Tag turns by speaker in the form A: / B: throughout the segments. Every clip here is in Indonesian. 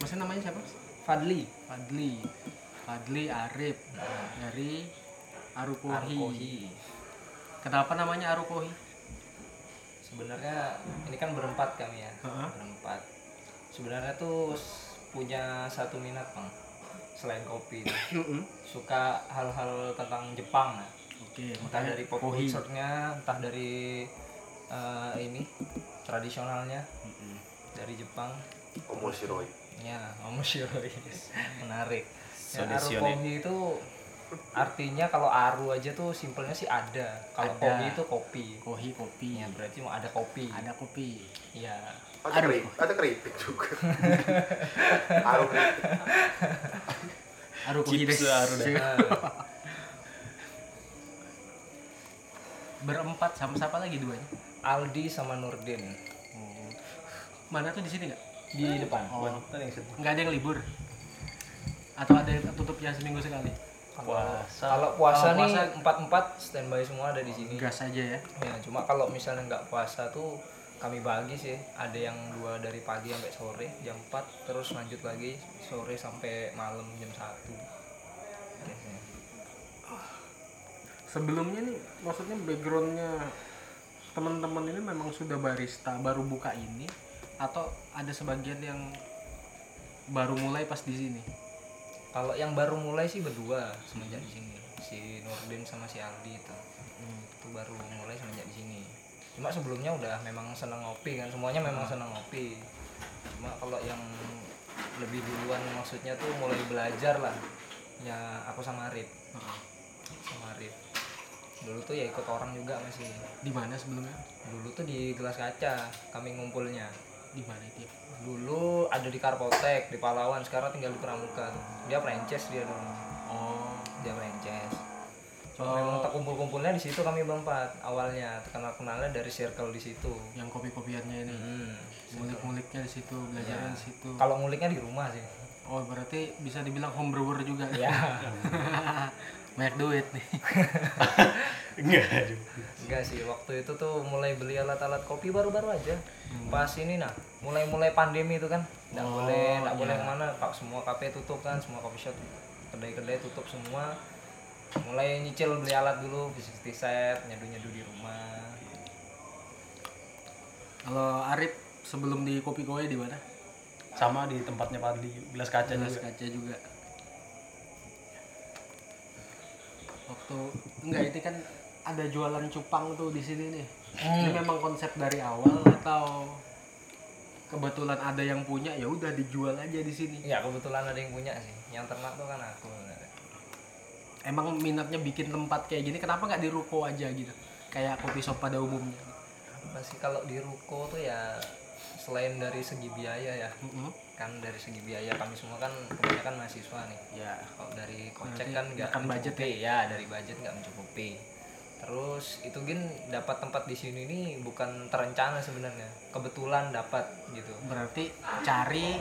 A: Masa namanya siapa?
B: Fadli
A: Fadli. Fadli Arif dari Arukohi.
B: Arkohi
A: Kenapa namanya Arukohi?
B: sebenarnya ini kan berempat kami ya
A: Heeh.
B: berempat sebenarnya tuh s- punya satu minat bang selain kopi suka hal-hal tentang Jepang nah.
A: Oke,
B: entah dari pop
A: Kohi.
B: culture-nya entah dari eh, ini tradisionalnya
A: Mm-mm.
B: dari Jepang
C: Omoshiroi.
B: ya omoshiroi menarik ya,
D: Sodesione.
B: arukomi itu artinya kalau aru aja tuh simpelnya sih ada kalau
A: Ada.
B: kopi itu kopi
A: Kohi kopi.
B: ya berarti mau ada kopi
A: Ada kopi.
B: ya
C: Ada
A: Aduh.
C: keripik, ada keripik juga. Arum keripik.
A: Arukohi
D: Chips
A: deh.
D: Aru deh.
B: Nah,
A: Berempat sama siapa lagi duanya?
B: Aldi sama Nurdin
A: Mana tuh di sini nggak?
B: di depan
A: Oh.
B: kalau
A: Nggak ada yang libur? Atau ada yang tutupnya seminggu sekali?
D: Puasa.
B: kalau puasa,
A: Kalau puasa-
B: nih empat empat standby semua ada di sini
A: Gas aja ya.
B: ya cuma kalau misalnya nggak puasa tuh kami bagi sih ada yang dua dari pagi sampai sore jam 4 terus lanjut lagi sore sampai malam jam 1 biasanya
A: Sebelumnya nih, maksudnya backgroundnya teman-teman ini memang sudah barista baru buka ini atau ada sebagian yang baru mulai pas di sini?
B: kalau yang baru mulai sih berdua semenjak di sini si Nurdin sama si Aldi itu itu baru mulai semenjak di sini cuma sebelumnya udah memang seneng ngopi kan semuanya memang seneng ngopi cuma kalau yang lebih duluan maksudnya tuh mulai belajar lah ya aku sama Arif
A: Heeh.
B: sama Arif dulu tuh ya ikut orang juga masih
A: Di mana sebelumnya?
B: dulu tuh di gelas kaca kami ngumpulnya
A: Di mana itu? ya?
B: dulu ada di Karpotek di Palawan sekarang tinggal di Pramuka dia franchise dia dulu
A: Oh,
B: dia franchise
A: Oh.
B: cuma memang tak kumpul-kumpulnya di situ kami berempat awalnya terkenal kenalnya dari circle di situ
A: yang kopi-kopiannya ini.
B: Hmm. Iya.
A: Ngulik-nguliknya di situ, belajarnya di situ.
B: kalau nguliknya di rumah sih
A: Oh, berarti bisa dibilang home brewer juga.
B: ya
A: Banyak duit nih.
D: Enggak. aduh.
B: enggak sih waktu itu tuh mulai beli alat-alat kopi baru-baru aja pas ini nah mulai-mulai pandemi itu kan nggak
A: Hmm. Oh,
B: boleh nggak
A: iya.
B: boleh kemana Pak, semua kafe tutup kan semua coffee shop kedai-kedai tutup semua mulai nyicil beli alat dulu bisnis set nyeduh-nyeduh di rumah
A: Kalau Arif sebelum di kopi kowe di mana?
D: Sama di tempatnya Padli, gelas kaca
A: Jelas
D: juga.
A: kaca juga. Waktu enggak itu kan ada jualan cupang tuh di sini nih. Ini
B: Hmm.
A: memang konsep dari awal atau kebetulan ada yang punya ya udah dijual aja di sini.
B: ya kebetulan ada yang punya sih yang ternak tuh kan aku sebenarnya.
A: Emang minatnya bikin tempat kayak gini kenapa nggak di ruko aja gitu? Kayak kopi shop pada umumnya.
B: apa sih kalau di ruko tuh ya selain dari segi biaya ya
A: Mm-mm.
B: kan dari segi biaya kami semua kan kebanyakan mahasiswa nih
A: Ya,
B: kalau dari kocek
A: Berarti
B: kan nggak
A: makan budget
B: mencukupi ya dari budget nggak mencukupi terus itu gin dapat tempat di sini nih bukan terencana sebenarnya kebetulan dapat gitu
A: berarti cari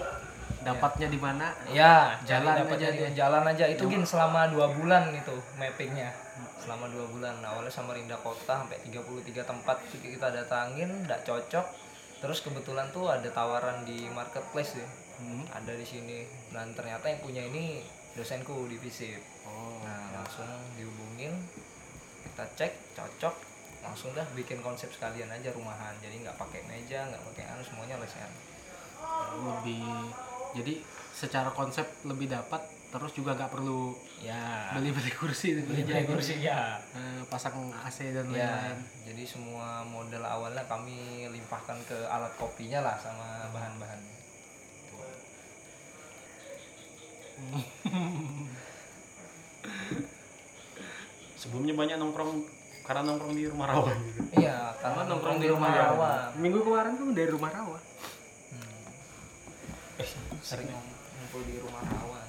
A: dapatnya di mana?
B: ya
A: Jalan
B: jalan
A: aja
B: aja
A: Nah, dia.
B: jalan aja itu gin selama dua bulan itu mappingnya selama dua bulan Nah, awalnya sama Rinda Kota sampai 33 tempat kita datangin nggak cocok terus kebetulan tuh ada tawaran di marketplace ya
A: Hmm.
B: ada di sini dan ternyata yang punya ini dosenku di visip
A: Oh.
B: nah langsung dihubungin kita cek cocok langsung dah bikin konsep sekalian aja rumahan jadi nggak pakai meja nggak pakai anu semuanya lesehan
A: lebih jadi secara konsep lebih dapat terus juga nggak perlu
B: ya
A: beli beli kursi beli jago
B: kursi ya
A: eh, pasang AC dan
B: Ya,
A: lain-lain
B: jadi semua modal awalnya kami limpahkan ke alat kopinya lah sama bahan-bahannya.
D: Sebelumnya banyak nongkrong karena nongkrong di rumah rawa gitu.
B: Iya, karena nongkrong di rumah ya? rawa.
A: minggu kemarin tuh dari rumah rawa
B: Hmm. Eh, Sering ngom- ngumpul di rumah rawa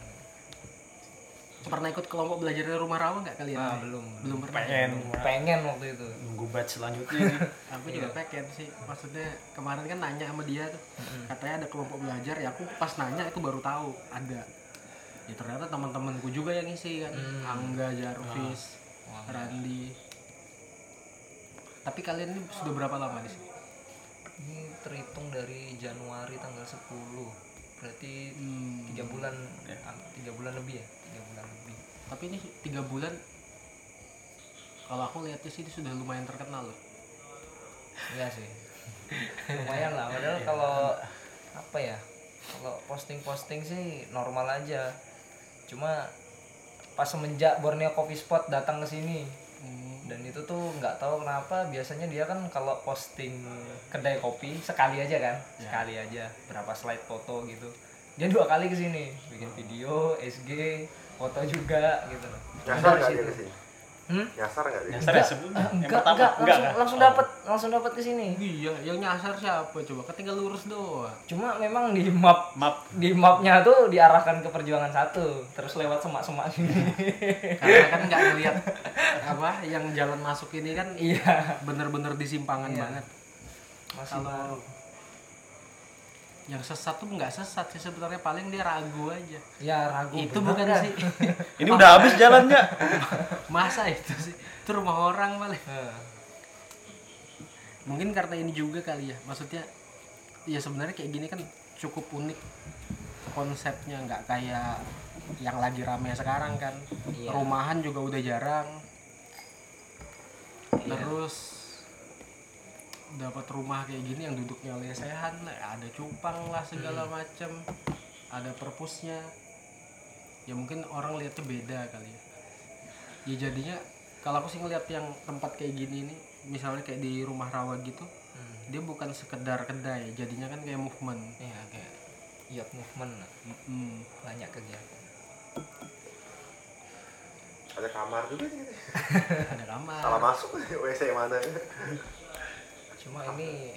A: Pernah ikut kelompok belajar dari rumah rawa nggak kalian?
B: ah
A: Nih?
B: belum
A: Belum pernah.
D: pengen
B: pengen waktu itu
D: nunggu batch selanjutnya nih.
A: Aku juga pengen sih. Maksudnya kemarin kan nanya sama dia tuh, katanya ada kelompok belajar. Ya aku pas nanya aku baru tahu ada. Ya ternyata teman-temanku juga yang ngisi kan.
B: Hmm.
A: Angga, Jarvis,
B: Wah.
A: Randi. Tapi kalian ini sudah berapa lama di sini?
B: ini terhitung dari Januari tanggal 10 berarti
A: Hmm,
B: tiga bulan am- tiga bulan lebih ya tiga bulan lebih
A: Tapi ini tiga bulan. Kalau aku lihat sih ini sudah lumayan terkenal loh.
B: iya sih lumayan lah padahal kalau apa ya kalau posting-posting sih normal aja cuma pas semenjak Borneo Coffee Spot datang ke sini
A: Hmm.
B: dan itu tuh nggak tahu kenapa biasanya dia kan kalau posting kedai kopi sekali aja kan sekali aja berapa slide foto gitu dia dua kali ke sini bikin video SG foto juga gitu loh Dari
C: nyasar nggak
B: situ.
C: dia kesini
B: Hmm?
C: nyasar nggak dia
D: Nyasar ya sebelumnya.
B: Ah,
D: Yang
B: enggak,
D: pertama
B: enggak, Oh.
D: enggak
B: langsung,
D: kan?
B: langsung dapat langsung dapat ke sini
A: Iya, yang nyasar siapa coba? Ketinggal lurus doang.
B: cuma memang di map
D: Map
B: di mapnya tuh diarahkan ke perjuangan satu terus lewat semak-semak sini
A: Karena kan nggak ngeliat apa yang jalan masuk ini kan
B: iya
A: bener-bener di simpangan banget.
B: masih baru
A: Yang sesat tuh nggak sesat sih sebenarnya paling dia ragu aja.
B: ya ragu
A: itu
B: bener
A: bukan
B: kan?
A: sih.
D: ini udah habis jalannya.
A: Masa itu sih? Itu rumah orang paling.
B: Eh,
A: Mungkin karena ini juga kali ya. Maksudnya ya sebenarnya kayak gini kan cukup unik konsepnya nggak kayak yang lagi rame sekarang kan.
B: Iya.
A: Rumahan juga udah jarang.
B: iya.
A: Terus dapat rumah kayak gini yang duduknya lesehan lah, ada cupang lah segala
B: Hmm.
A: macem, ada perpusnya. Ya mungkin orang lihatnya beda kali ya. Ya jadinya kalau aku sih ngeliat yang tempat kayak gini nih, misalnya kayak di rumah rawa gitu,
B: Hmm.
A: dia bukan sekedar kedai, jadinya kan kayak movement.
B: Iya kayak youth movement lah.
A: Hmm.
B: banyak kegiatan.
C: ada kamar juga sih gitu.
A: ada kamar.
C: salah masuk wc mana
B: Cuma ini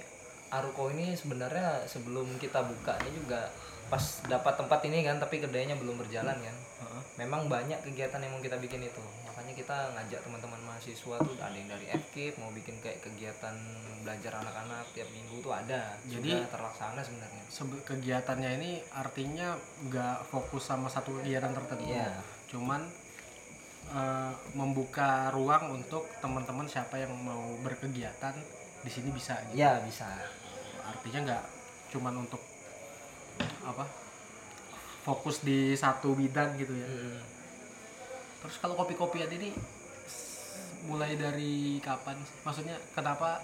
B: Aruko ini sebenarnya sebelum kita buka ini juga pas dapat tempat ini kan tapi kedainya belum berjalan kan.
A: Heeh.
B: Memang banyak kegiatan yang mau kita bikin itu. Makanya kita ngajak teman-teman mahasiswa tuh ada yang dari FKIP mau bikin kayak kegiatan belajar anak-anak tiap minggu tuh ada.
A: Jadi-
B: Sudah terlaksana sebenarnya.
A: Sebe- kegiatannya ini artinya nggak fokus sama satu kegiatan tertentu
B: Iya.
A: cuman eh, membuka ruang untuk teman-teman siapa yang mau berkegiatan di sini bisa gitu.
B: Ya bisa.
A: artinya nggak cuman untuk apa fokus di satu bidang gitu ya
B: Mm.
A: terus kalau kopi-kopian ini s- mulai dari kapan sih? maksudnya kenapa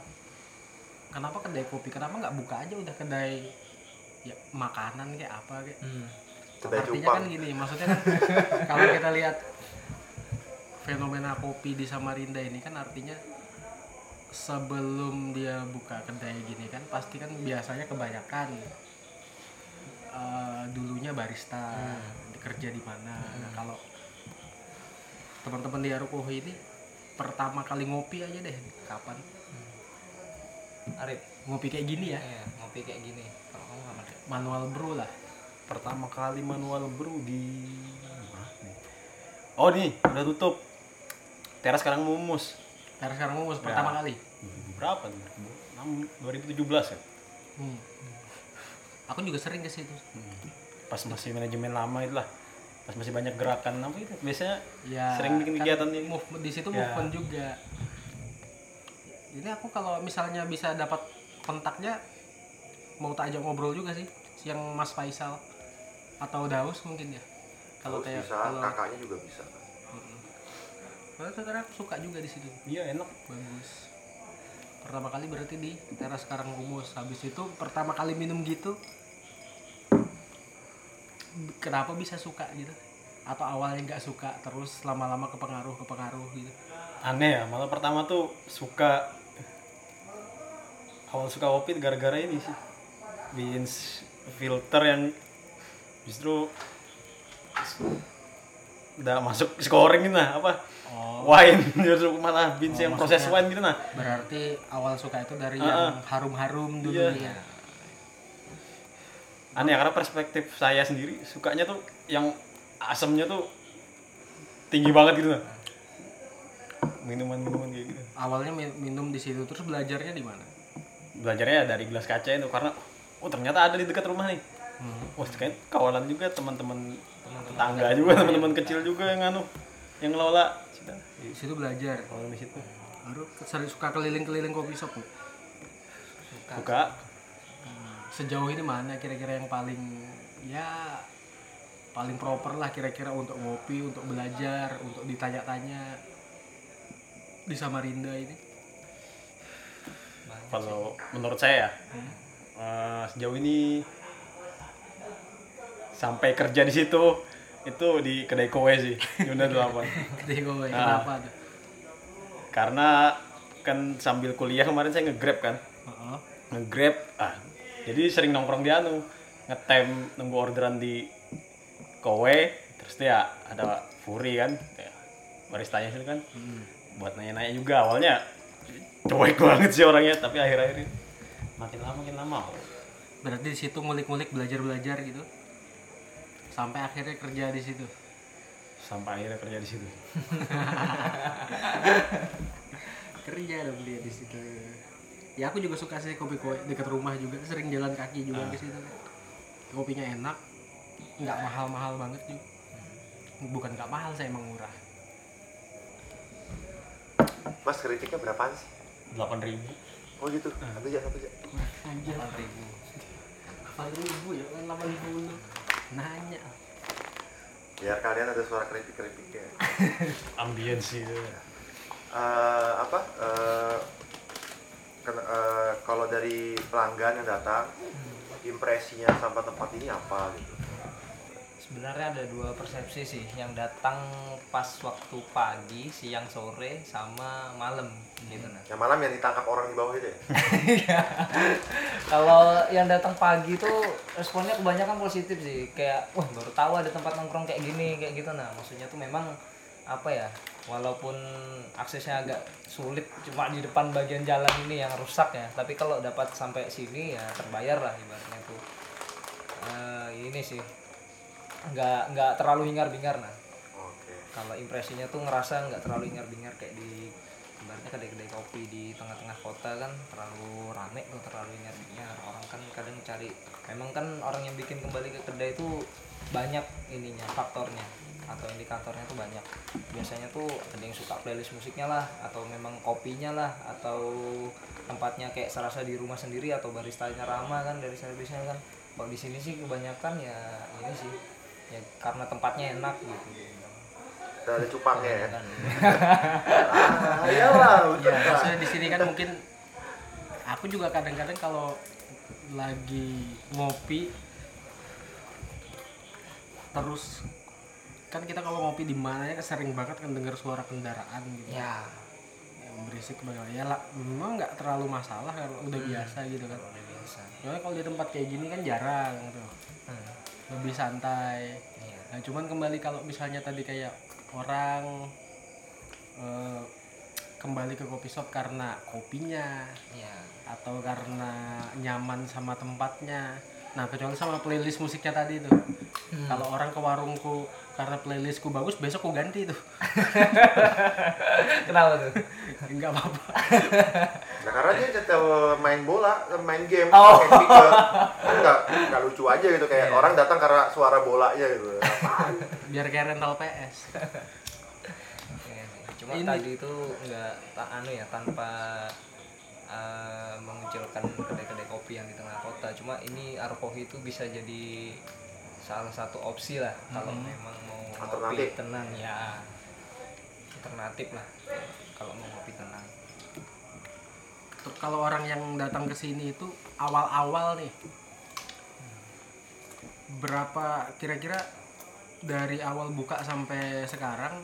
A: kenapa kedai kopi kenapa nggak buka aja udah kedai ya makanan kayak apa kayak
B: Mm.
C: kedai
A: Artinya
C: cupang
A: kan gini, maksudnya kan kalau kita lihat fenomena kopi di Samarinda ini kan artinya sebelum dia buka kedai gini kan pasti kan biasanya kebanyakan eh, dulunya barista kerja di mana. Nah, kalau teman-teman di Arukuh ini pertama kali ngopi aja deh kapan
B: Arif,
A: ngopi kayak gini ya
B: iya, ngopi kayak gini. Kalau kamu kapan? Arif?
A: manual brew lah
D: Pertama kali manual brew di Oh nih, udah tutup. Teras sekarang mumus.
A: karena sekarang mau pertama kali
D: Berapa tuh? 6 2017 ya?
A: Hmm. aku juga sering ke situ
D: Hmm. Pas masih manajemen lama itulah. Pas masih banyak gerakan apa itu. Biasanya
A: ya
D: sering bikin
A: kan
D: kegiatan ini.
A: movement di situ
D: Ya.
A: movement juga ini aku kalau misalnya bisa dapat kontaknya mau tak ajak ngobrol juga sih yang Mas Faisal atau Daus mungkin ya kalau
C: kalau
A: kayak
C: bisa
A: kalau
C: kakaknya juga bisa
A: Mm-mm. Kalau saudara aku suka juga di situ
D: Iya, enak.
A: bagus pertama kali berarti di teras karang rumus habis itu pertama kali minum gitu b- kenapa bisa suka gitu atau awalnya nggak suka terus lama-lama kepengaruh kepengaruh gitu
D: Aneh ya, malah pertama tuh suka awal suka kopi gara-gara ini sih. Bikin s- filter yang justru s- udah masuk scoring gitu nah apa wine justru malah beans yang proses wine gitu nah
A: ya? berarti awal suka itu dari yang harum-harum dulu
D: Iya.
A: ya
D: aneh ya, karena perspektif saya sendiri sukanya tuh yang asemnya tuh tinggi banget gitu nah. minuman-minuman kayak gitu
A: Awalnya min- minum di situ terus belajarnya di mana?
D: belajarnya dari gelas kaca itu karena oh ternyata ada di dekat rumah nih wah kan kawalan juga teman-teman tetangga juga teman-teman kecil juga yang anu yang ngelola Cita.
A: Di situ belajar.
D: kalau di situ
A: Baru ke- sering suka keliling-keliling kopi shop. Bu.
D: buka
A: Nah, Sejauh ini mana kira-kira yang paling ya paling proper lah kira-kira untuk ngopi, untuk belajar, untuk ditanya-tanya di Samarinda ini.
D: kalau menurut saya ya, eh, sejauh ini sampai kerja di situ itu di kedai kowe sih di Undang delapan
A: Gede gue, kenapa tuh?
D: karena kan sambil kuliah kemarin saya nge-grab kan
A: Heeh.
D: nge-grab ah jadi sering nongkrong di anu ngetem nunggu orderan di kowe terus dia ada Furi kan ya, baristanya situ kan
B: Hmm.
D: buat nanya-nanya juga awalnya cuek banget sih orangnya tapi akhir-akhir ini makin lama makin lama
A: Berarti di situ ngulik-ngulik belajar-belajar gitu. Sampai akhirnya kerja di situ.
D: sampai akhirnya kerja di situ
A: kerja dong dia di situ ya aku juga suka sih kopi kowe dekat rumah juga sering jalan kaki juga ke situ kopinya enak nggak mahal mahal banget juga bukan nggak mahal saya emang murah
C: Mas kericiknya berapaan sih?
D: delapan ribu
C: Oh gitu,
A: Ah.
C: satu jak, satu jak
A: anjir
B: ribu
A: delapan ribu ya kan delapan puluh nanya
C: Biar kalian ada suara keripik-keripiknya
D: ambience gitu
C: Eh, Apa? eh, ken- eh, Kalau dari pelanggan yang datang
A: Hmm.
C: Impresinya sama tempat ini apa gitu
B: sebenarnya ada dua persepsi sih yang datang pas waktu pagi siang sore sama malam gitu nah
C: Yang malam yang ditangkap orang di bawah itu ya?
B: Iya. kalau yang datang pagi tuh responnya kebanyakan positif sih kayak wah baru tahu ada tempat nongkrong kayak gini kayak gitu nah maksudnya tuh memang apa ya walaupun aksesnya agak sulit cuma di depan bagian jalan ini yang rusak ya tapi kalau dapat sampai sini ya terbayar lah ibaratnya tuh Eh, ini sih nggak nggak terlalu hingar bingar nah
C: Oke
B: kalau impresinya tuh ngerasa nggak terlalu ingar-bingar kayak di ibaratnya kedai-kedai kopi di tengah-tengah kota kan terlalu rame tuh terlalu ingar-bingar orang kan kadang cari memang kan orang yang bikin kembali ke kedai itu banyak ininya faktornya atau indikatornya tuh banyak biasanya tuh ada yang suka playlist musiknya lah atau memang kopinya lah atau tempatnya kayak serasa di rumah sendiri atau baristanya ramah kan dari servisnya kan kalau di sini sih kebanyakan ya ini sih ya karena tempatnya enak gitu
C: Dan ada cupangnya ya?
B: kan
C: Ah, iyalah, betul lah
A: maksudnya di sini kan mungkin aku juga kadang-kadang kalau lagi ngopi terus kan kita kalau ngopi di mana ya sering banget kan dengar suara kendaraan gitu
B: ya
A: yang berisik bagaimana ya lah memang nggak terlalu masalah kalau udah biasa gitu kan
B: Hmm. udah biasa
A: soalnya kalau di tempat kayak gini kan jarang tuh
B: hmm.
A: lebih santai
B: iya
A: Nah, cuman kembali kalau misalnya tadi kayak orang eh, kembali ke kopi shop karena kopinya
B: iya
A: atau karena nyaman sama tempatnya. Nah, kecuali sama playlist musiknya tadi tuh. Kalau orang ke warungku karena playlistku bagus, besok ku ganti tuh.
B: kenapa tuh
A: Enggak apa-apa.
C: Nah, karena dia tetap main bola, main game,
B: Oh.
C: main FIFA. Kan nggak nggak lucu aja gitu kayak orang datang karena suara bolanya gitu. Apaan?
A: Biar kayak rental PS.
B: Iya sih. cuma
A: Ini-
B: tadi itu nggak tak anu ya tanpa eh, mengucilkan kedai-kedai kopi yang di tengah kota cuma ini arkohi itu bisa jadi salah satu opsi lah kalau memang mau
C: Alternatif.
B: kopi tenang ya alternatif lah kalau mau kopi tenang
A: Ter- kalau orang yang datang ke sini itu awal-awal nih berapa kira-kira dari awal buka sampai sekarang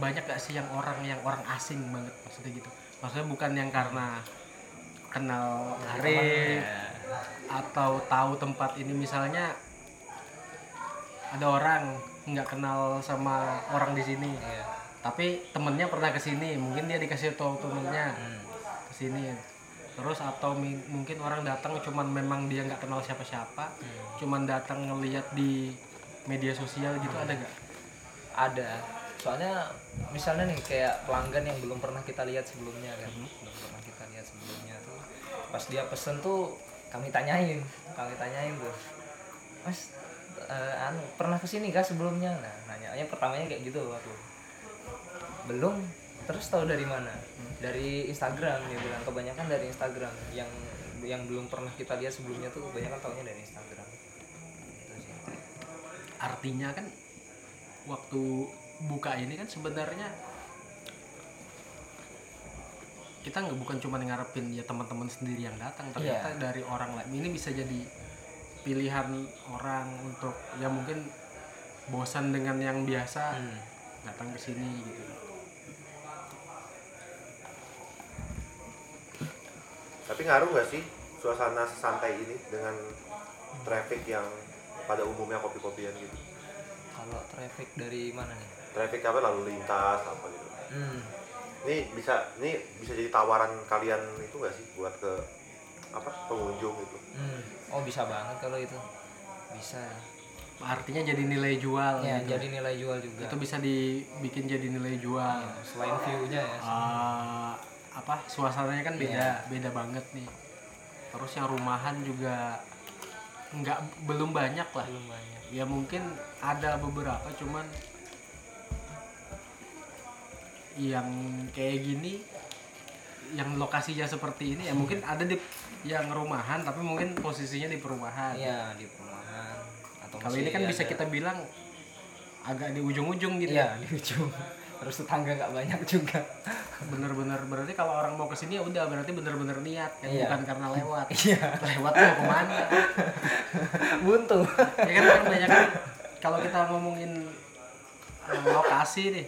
A: banyak gak sih yang orang yang orang asing banget maksudnya gitu maksudnya bukan yang karena kenal
B: ya.
A: Arif atau tahu tempat ini misalnya ada orang nggak kenal sama orang di sini
B: Iya.
A: tapi temennya pernah kesini mungkin dia dikasih tahu temennya
B: Hmm.
A: kesini terus atau mi- mungkin orang datang cuman memang dia nggak kenal siapa-siapa
B: Hmm.
A: cuman datang ngelihat di media sosial gitu
B: Hmm.
A: ada nggak
B: ada soalnya misalnya nih kayak pelanggan yang belum pernah kita lihat sebelumnya kan belum pernah kita lihat sebelumnya tuh pas dia pesen tuh kami tanyain kami tanyain tuh mas eh, anu pernah kesini kah sebelumnya nah nanyanya pertamanya kayak gitu aku belum terus tahu dari mana dari Instagram dia bilang kebanyakan dari Instagram yang yang belum pernah kita lihat sebelumnya tuh kebanyakan taunya dari Instagram Gitu sih.
A: artinya kan waktu buka ini kan sebenarnya kita nggak bukan cuma ngarepin ya teman-teman sendiri yang datang ternyata dari orang lain ini bisa jadi pilihan orang untuk ya mungkin bosan dengan yang biasa
B: Hmm.
A: datang ke sini gitu
C: Tapi ngaruh nggak sih suasana santai ini dengan traffic yang pada umumnya kopi-kopian gitu?
B: kalau traffic dari mana nih
C: Traffic apa lalu lintas apa gitu?
B: Hmm.
C: Ini bisa ini bisa jadi tawaran kalian itu nggak sih buat ke apa pengunjung gitu?
B: Hmm. Oh bisa banget kalau itu. Bisa.
A: artinya jadi nilai jual
B: Ya,
A: gitu.
B: jadi nilai jual juga. Ya,
A: itu bisa dibikin jadi nilai jual
B: Selain view-nya ya.
A: Eh, apa suasananya kan beda
B: Iya.
A: beda banget nih terus yang rumahan juga nggak belum banyak lah
B: Belum banyak.
A: ya mungkin ada beberapa cuman yang kayak gini yang lokasinya seperti ini ya mungkin
B: Hmm.
A: ada di yang rumahan tapi mungkin posisinya di perumahan
B: Iya, di perumahan atau
A: kalau
B: masih
A: ini kan bisa
B: ada-
A: kita bilang agak di ujung-ujung gitu
B: Iya, di ujung. Terus tetangga nggak banyak juga.
A: bener-bener berarti kalau orang mau kesini ya udah berarti bener-bener niat kan
B: Iya.
A: bukan karena lewat
B: Iya.
A: lewat mau kemana
B: Buntu.
A: ya kan orang banyak kan, kalau kita ngomongin eh, lokasi nih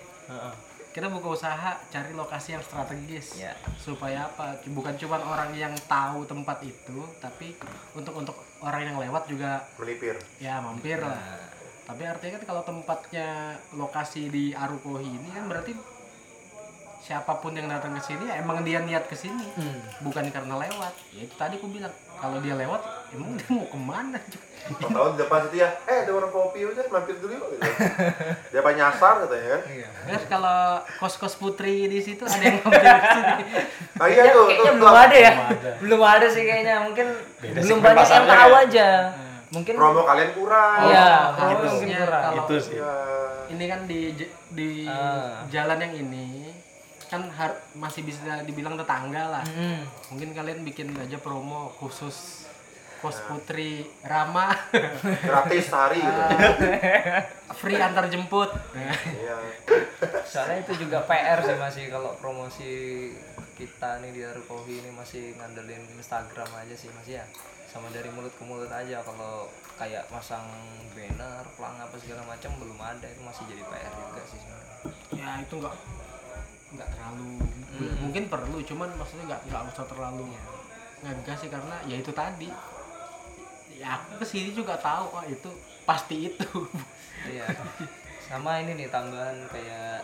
A: kita buka usaha cari lokasi yang strategis
B: Iya.
A: supaya apa bukan cuma orang yang tahu tempat itu tapi untuk untuk orang yang lewat juga
C: Melipir.
A: ya mampir lah
B: Nah,
A: tapi artinya kan kalau tempatnya lokasi di Arukohi ini kan berarti siapapun yang datang ke sini ya emang dia niat ke sini
B: hmm.
A: bukan karena lewat ya itu tadi aku bilang kalau dia lewat emang dia mau kemana
C: Tahun depan itu ya, eh ada orang kopi udah mampir dulu yuk. Gitu. Dia apa nyasar katanya kan?
B: Iya.
A: terus kalau kos kos putri di situ ada yang mampir ke sini
C: Nah,
B: Kayaknya,
C: iya tuh,
B: kayaknya
C: tuh,
B: belum
C: tuh.
B: ada ya. Belum ada sih kayaknya. Mungkin belum
D: segmen
B: banyak yang
D: pasarnya
B: tahu
D: ya.
B: aja.
A: Hmm.
B: Mungkin
C: promo kalian kurang.
B: Iya,
A: Oh,
B: promo mungkin
A: harusnya
B: kurang.
A: kalau
D: itu sih
C: Iya.
A: ini kan di j- di
B: Ah.
A: jalan yang ini kan har- masih bisa dibilang tetangga lah
B: Hmm.
A: mungkin kalian bikin aja promo khusus kos putri Rama
C: Gratis sehari gitu.
A: free antar jemput Nah,
C: Iya.
B: Soalnya itu juga PR sih masih kalau promosi kita nih di Arukohi ini masih ngandelin Instagram aja sih Mas ya. Sama dari mulut ke mulut aja kalau kayak pasang banner, pelang apa segala macam belum ada itu masih jadi PR juga sih sebenarnya.
A: ya itu nggak nggak terlalu mungkin perlu cuman maksudnya nggak nggak usah terlalu ngegas sih karena ya itu tadi ya aku kesini juga tahu oh itu pasti itu
B: Iya. Sama ini nih tambahan kayak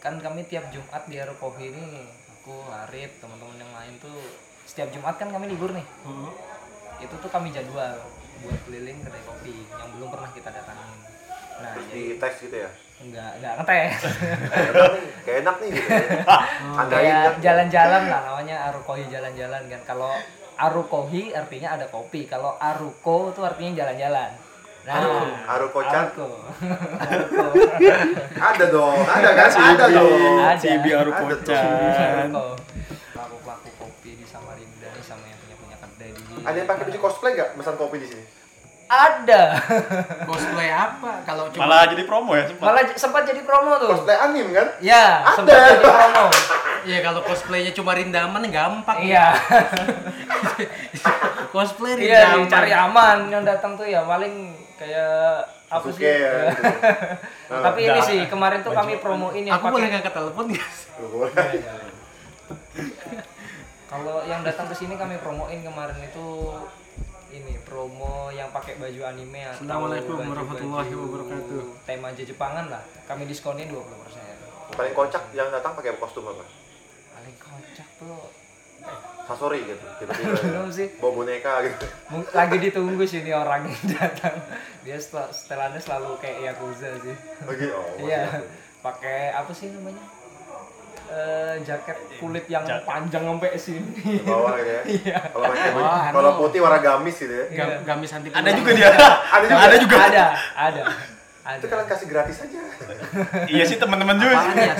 B: kan kami tiap Jumat di Arukohi ini aku Arif teman-teman yang lain tuh setiap Jumat kan kami libur nih
A: Heeh.
B: itu tuh kami jadwal buat keliling kedai kopi yang belum pernah kita datangin. Nah,
C: Terus di
B: jadi
C: tes gitu ya.
B: enggak enggak ngetes.
C: Kayak enak nih, kayak enak nih gitu. Tandain
B: Kayak
C: kan.
B: jalan-jalan lah namanya Arukohi jalan-jalan kan. Kalau Arukohi artinya ada kopi, kalau Aruko itu artinya jalan-jalan. Nah,
C: Arukocan.
B: Aruko.
C: Ada dong, ada kan?
D: Iya,
C: Ada dong.
B: Ada.
D: si biaru
C: Ada tuh.
D: kocan
B: Aruko. Pelaku-pelaku kopi di Samarinda nih sama yang punya punya kedai di sini.
C: Ada yang pakai baju cosplay nggak pesan kopi di sini?
B: Ada.
A: cosplay apa kalau cuma
D: malah jadi promo ya sempat
B: Malah j- sempat jadi promo tuh.
C: Cosplay anim kan?
B: Ya,
C: Ada.
B: sempat jadi promo.
A: ya kalau cosplaynya cuma rindaman gampang
B: Iya.
A: cosplay
B: Iya, yang
A: rindaman
B: cari aman yang datang tuh ya paling kayak apa
C: Oke.
B: sih? Ya.
C: gitu.
B: Tapi ini sih kemarin tuh kami promoin
A: Eh,
B: yang
A: aku boleh
B: pakai
A: ngangkat telepon nggak sih?
C: Lu boleh.
B: kalau yang datang ke sini kami promoin kemarin itu ini promo yang pakai baju anime atau
A: Assalamualaikum
B: baju-baju
A: warahmatullahi wabarakatuh.
B: Tema aja Jepangan lah. Kami diskonin 20%.
C: Paling kocak yang datang pakai kostum apa?
B: Paling kocak tuh
C: Sasori gitu tiba-tiba
B: belum sih
C: bawa boneka gitu
B: Mung- lagi ditunggu sih ini orang yang datang dia setel- setelannya selalu kayak yakuza sih
C: lagi oh masih
B: iya
C: aku.
B: pakai apa sih namanya Eh, jaket kulit yang
D: Jaket.
B: panjang sampai
C: Ke
B: sini
C: bawah gitu ya
B: Iya.
C: kalau pakai baju-
A: Wah,
C: kalau
A: anu.
C: putih warna gamis gitu ya
A: Ga-
B: Iya.
A: gamis anti
D: Ada
A: tulang.
D: juga dia.
C: ada juga
D: Ada juga.
B: ada ada ada
C: itu kalian kasih gratis aja
D: iya sih teman-teman juga
A: Apaan
D: sih.
A: ya?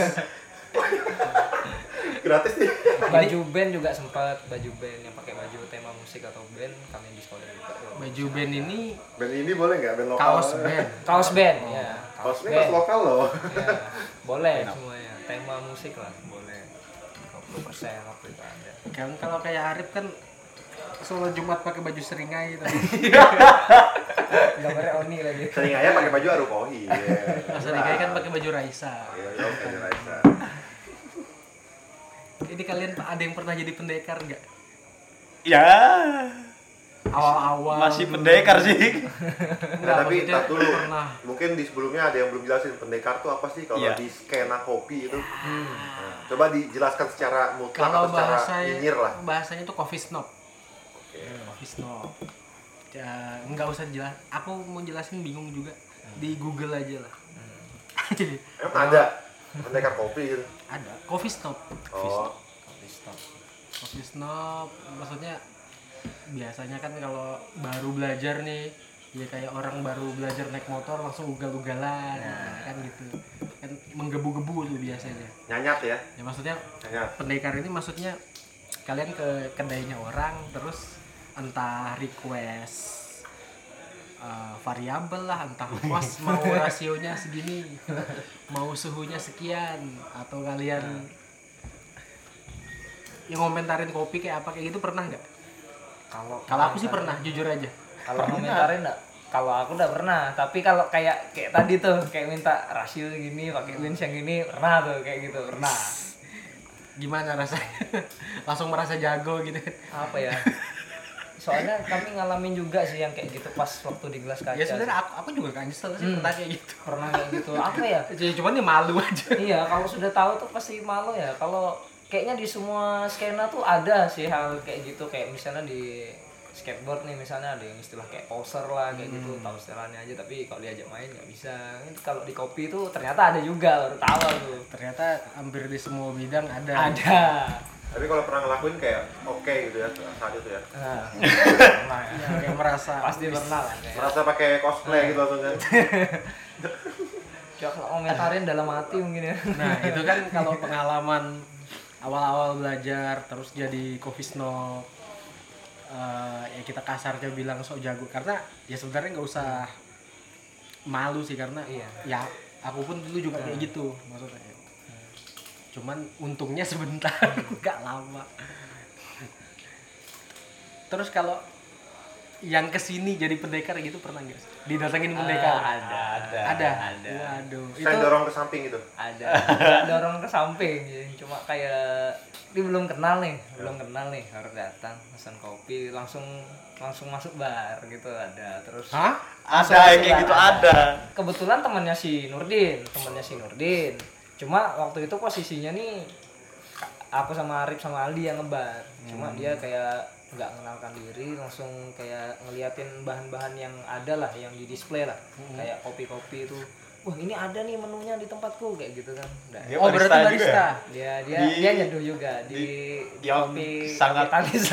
C: gratis nih
B: baju band juga sempat baju band yang pakai baju tema musik atau band kami diskon juga
A: Baju band ini
C: band ini boleh nggak band lokal
A: kaos band.
B: kaos band ya
C: kaos ini kaos lokal loh
B: ya boleh semuanya tema musik lah boleh 20 persen waktu itu ada
A: Kan kalau kayak Arif kan sholat Jumat pakai baju seringai gitu.
B: gambarnya Oni lagi
C: sering aja pakai baju arukohi iya.
A: seringai kan pakai baju Raisa.
C: Iya, iya, pakai baju Raisa.
A: Ini kalian ada yang pernah jadi pendekar nggak?
D: Ya,
A: Awal-awal.
D: masih
A: dulu.
D: pendekar sih.
A: Nggak,
C: Nah, tapi
A: maksudnya
C: tak dulu.
A: Pernah.
C: Mungkin di sebelumnya ada yang belum jelasin pendekar tuh apa sih kalau
D: Iya.
C: di skena kopi itu. Nah, coba dijelaskan secara mutlak
A: Ya. Kalau
C: atau secara
A: bahasa ya.
C: nyinyir lah.
A: bahasanya tuh coffee snob.
C: Oke.
A: Coffee snob. Ya, nggak usah jelas. Aku mau jelasin bingung juga. Di Google aja lah.
C: Emang ada pendekar kopi gitu.
A: ada coffee snob.
C: Oh,
B: stop
A: Coffee snob maksudnya biasanya kan kalau baru belajar nih ya kayak orang baru belajar naik motor langsung ugal-ugalan nah, kan gitu kan menggebu-gebu tuh biasanya
C: nyanyat ya.
A: ya maksudnya
C: Nyanyat.
A: pendekar ini maksudnya kalian ke kedainya orang terus entah request eh, variabel lah entah pas mau rasionya segini mau suhunya sekian atau kalian yang ngomentarin kopi kayak apa kayak gitu pernah nggak?
B: kalau
A: Kalau aku sih pernah jujur aja.
B: kalau komentarin enggak kalau aku udah pernah tapi kalau kayak kayak tadi tuh kayak minta rasio gini pakai wins yang ini pernah tuh kayak gitu pernah
A: Gimana rasanya? Langsung merasa jago gitu.
B: apa ya soalnya kami ngalamin juga sih yang kayak gitu pas waktu di gelas kaca
A: Ya sebenarnya aku, aku juga gak nyesel sih pernah kayak gitu.
B: pernah kayak gitu apa ya
A: Ya, Cuman ya malu aja.
B: iya kalau sudah tahu tuh pasti malu ya kalau kayaknya di semua skena tuh ada sih hal kayak gitu kayak misalnya di skateboard nih misalnya ada yang istilah kayak poser lah kayak gitu tahu istilahnya aja tapi kalau diajak main nggak bisa Ini kalau di kopi tuh ternyata ada juga baru tahu tuh
A: Ternyata hampir di semua bidang ada.
B: ada
C: Tapi kalau pernah ngelakuin kayak oke gitu ya saat itu ya.
B: nah, pernah ya.
A: Ya, kayak merasa
B: pasti pernah lah
A: Iya.
B: kayak
C: Merasa pakai cosplay gitu langsung kan.
B: Coba kalau komentarin dalam hati mungkin ya
A: Nah, itu kan kalau pengalaman awal-awal belajar terus jadi coffee snob eh, ya kita kasarnya bilang sok jago karena ya sebenarnya nggak usah malu sih karena
B: Iya.
A: ya aku pun dulu juga kayak gitu maksudnya cuman untungnya sebentar
B: Iya.
A: nggak lama terus kalau yang kesini jadi pendekar gitu pernah nggak sih? didatengin pendekar
B: Ah, ada ada
A: ada
B: ada.
A: waduh
C: Saya dorong ke samping gitu.
B: ada Nggak dorong ke samping jadi cuma kayak ini belum kenal nih belum kenal nih harus datang pesan kopi langsung langsung masuk bar gitu ada terus
A: hah
D: Ada yang kayak gitu ada.
B: kebetulan temannya si Nurdin temannya si Nurdin cuma waktu itu posisinya nih ka- aku sama Arif sama Aldi yang ngebar cuma dia kayak nggak mengenalkan diri langsung kayak ngeliatin bahan-bahan yang ada lah yang di display lah kayak kopi-kopi itu wah ini ada nih menunya di tempatku kayak gitu kan Udah,
D: Dia
A: oh berarti
D: juga
A: barista
D: ya?
B: dia dia
D: Di-
B: dia nyeduh juga di,
D: di- yang sangat-
B: tangis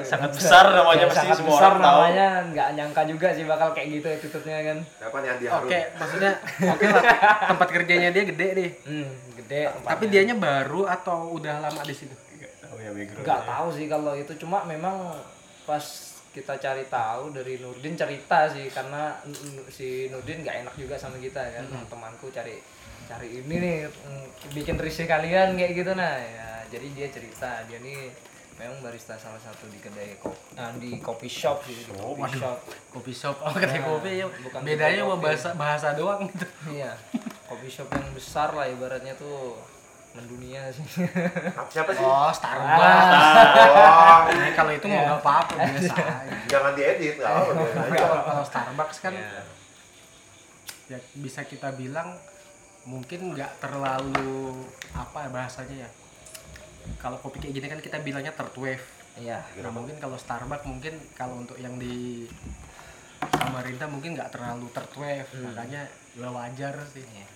D: Sangat besar namanya pasti
B: sangat
D: semua
B: besar
D: orang tahu.
B: namanya nggak nyangka juga sih bakal kayak gitu attitude-nya kan
C: Apa nih Andi
A: Oke,
C: Harun?
A: maksudnya oke lah. Tempat kerjanya dia gede nih.
B: hmm, gede
D: Nah,
A: Tapi dianya baru atau udah lama di situ?
D: Nggak tahu ya background.
B: nggak tahu sih kalau itu cuma memang pas kita cari tahu dari Nurdin cerita sih karena N- N- si Nurdin nggak enak juga sama kita kan temanku cari cari ini nih mm, bikin risih kalian kayak gitu nah ya jadi dia cerita dia nih memang barista salah satu di kedai kopi di kopi shop sih di kopi shop
A: Kopi shop, oh kedai
B: Nah,
A: kopi ya.
B: bukan
A: Bedanya
B: kedai
A: sama
B: kopi.
A: bahasa bahasa doang gitu.
B: iya kopi shop yang besar lah ibaratnya tuh mendunia sih
C: Apa- Siapa sih?
A: Oh, Starbucks.
C: Oh,
A: Nah, kalau itu mau nggak apa-apa biasa. aja.
C: jangan diedit, nggak apa-apa. biarin aja.
A: Kalau kalau Starbucks kan ya bisa kita bilang mungkin nggak terlalu apa ya bahasanya ya kalau kopi kayak gini kan kita bilangnya third wave.
B: Iya.
A: Nah, mungkin kalau Starbucks mungkin kalau untuk yang di Samarinda mungkin nggak terlalu third wave,
B: Hmm.
A: makanya ya wajar sih.
B: Iya.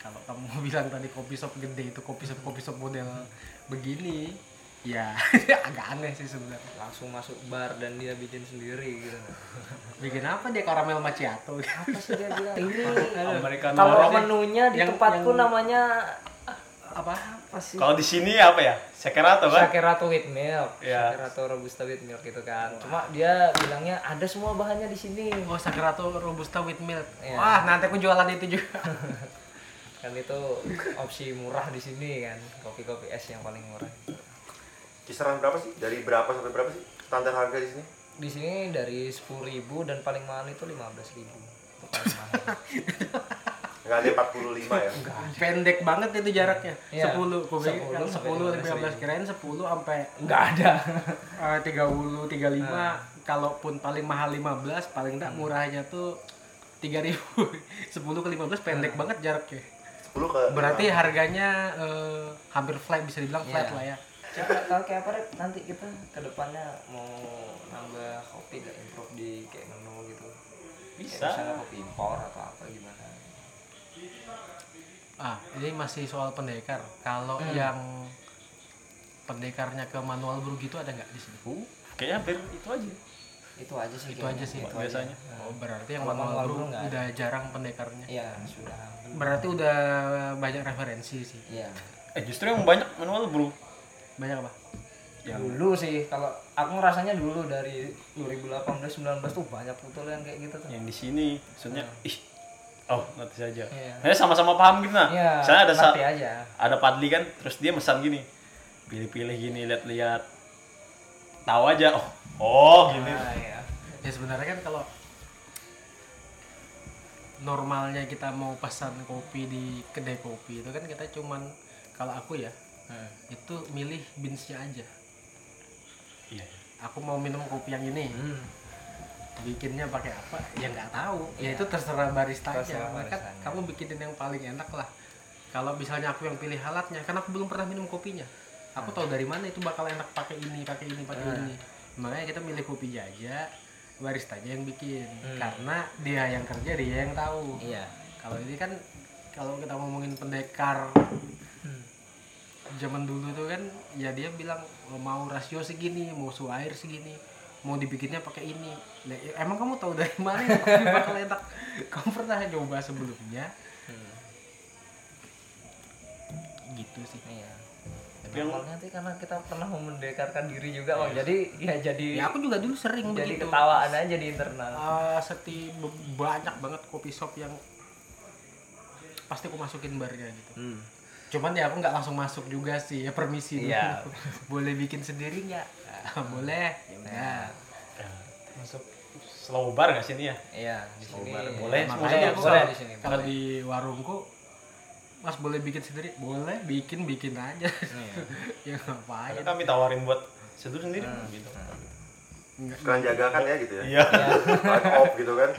A: Kalau kamu bilang tadi kopi shop gede itu kopi shop kopi shop model begini, ya agak aneh sih sebenarnya.
B: Langsung masuk bar dan dia bikin sendiri gitu.
A: Bikin apa dia karamel macchiato?
B: Apa sih dia bilang?
D: Americano.
B: Kalau
A: Yang-
B: menunya di
A: yang-
B: tempatku
A: yang-
B: namanya
A: apa?
B: apa sih?
D: Kalau di sini apa ya? Sekerato kan?
B: Sakerato with milk,
D: Iya.
B: Sakerato robusta with milk gitu kan. Cuma dia bilangnya ada semua bahannya di sini.
A: Oh, Sagrato Robusta with milk.
B: Iya.
A: Wah, nanti aku jualan itu juga.
B: Kan itu opsi murah di sini kan, kopi-kopi es yang paling murah.
C: Kisaran berapa sih? Dari berapa sampai berapa sih? Standar harga di sini?
B: Di sini dari 10.000 dan paling mahal itu 15.000. Itu paling mahal.
C: Enggak ada 45 ya?
A: Pendek banget itu jaraknya.
B: Iya.
A: 10, gue pikir
B: 10
A: kan 10 15
B: sampai 15
A: kirain 10 sampai
B: Enggak ada.
A: eh, 30 35
B: Ah.
A: kalaupun paling mahal 15 paling
B: Hmm.
A: enggak murahnya tuh 3000. 10 ke 15 pendek
B: Ah.
A: banget jaraknya.
C: 10 ke
A: Berarti ya? harganya eh, hampir flat bisa dibilang flat
B: Iya.
A: lah ya.
B: Coba kalau kayak apa Rep? nanti kita ke depannya mau nambah kopi gak improve di kayak menu gitu.
D: Bisa.
B: Kayak misalnya kopi impor atau apa gimana.
A: Ah, ini masih soal pendekar. Kalau
B: Hmm.
A: yang pendekarnya ke manual brew gitu ada nggak di sini?
D: Uh, kayaknya hampir itu aja.
B: Itu aja sih.
A: Itu aja sih.
D: Biasanya.
A: Oh, berarti yang
B: Kalau
A: manual
B: manual
A: brew
B: brew nggak ada.
A: udah jarang pendekarnya.
B: Iya, sudah.
A: Berarti udah banyak referensi sih.
B: Iya.
D: Eh justru yang banyak manual bro.
A: Banyak apa?
D: Yang
B: Dulu sih kalau aku ngerasanya dulu dari 2018 19 tuh banyak betul yang kayak gitu tuh.
D: yang di sini maksudnya ih oh nanti saja.
B: Iya.
D: Saya sama-sama paham gitu nah.
B: Iya.
D: Misalnya ada sa-
B: nanti aja.
D: ada Padli kan terus dia mesan gini. Pilih-pilih gini lihat-lihat. Tahu aja oh oh gini.
B: Nah, iya.
A: Ya sebenarnya kan kalau normalnya kita mau pesan kopi di kedai kopi itu kan kita cuman kalau aku ya
B: Hmm.
A: itu milih beansnya aja.
D: Iya.
A: Aku mau minum kopi yang ini,
B: Hmm.
A: bikinnya pakai apa? Ya nggak tahu. Ya itu terserah baristanya.
B: Iya. Terserah
A: Kan
B: baristanya.
A: kamu bikinin yang paling enak lah. Kalau misalnya aku yang pilih alatnya, karena aku belum pernah minum kopinya. Aku
B: Ah.
A: tahu dari mana itu bakal enak pakai ini, pakai ini, pakai ini. Makanya kita milih kopinya aja, baristanya yang bikin.
B: Hmm.
A: Karena dia yang kerja, dia yang tahu.
B: Iya.
A: Kalau ini kan kalau kita ngomongin pendekar zaman dulu tuh kan ya dia bilang "Oh, mau rasio segini, mau suhu air segini, mau dibikinnya pakai ini. Lah, ya emang kamu tahu dari mana itu kopi bakal enak? Kamu pernah coba sebelumnya? Gitu sih.
B: Iya.
D: Tapi yang-
B: Awalnya tuh karena kita pernah mendekarkan diri juga, Bang. Jadi ya jadi
A: Ya aku juga dulu sering
B: jadi
A: begitu.
B: ketawaan aja di internal.
A: Eh, seti be- banyak banget kopi shop yang pasti aku masukin barnya gitu.
B: Hmm.
A: Cuman ya aku nggak langsung masuk juga sih, ya permisi dulu.
B: Iya.
A: Boleh bikin sendiri nggak? Ah, Boleh. Ya udah.
D: Ya, Masuk slow bar gak sih ini ya?
B: Iya, di sini.
D: boleh.
B: Makanya
A: makanya aku
B: aku
A: kalau,
B: boleh di sini.
A: kalau di warungku mas boleh bikin sendiri boleh bikin bikin aja
B: Iya.
A: ya
D: Kan
A: ngapain
D: kami tawarin buat seduh sendiri gitu.
A: Nggak-
C: Sekalian jaga kan ya gitu ya?
D: Iya.
C: Sekalian off gitu kan?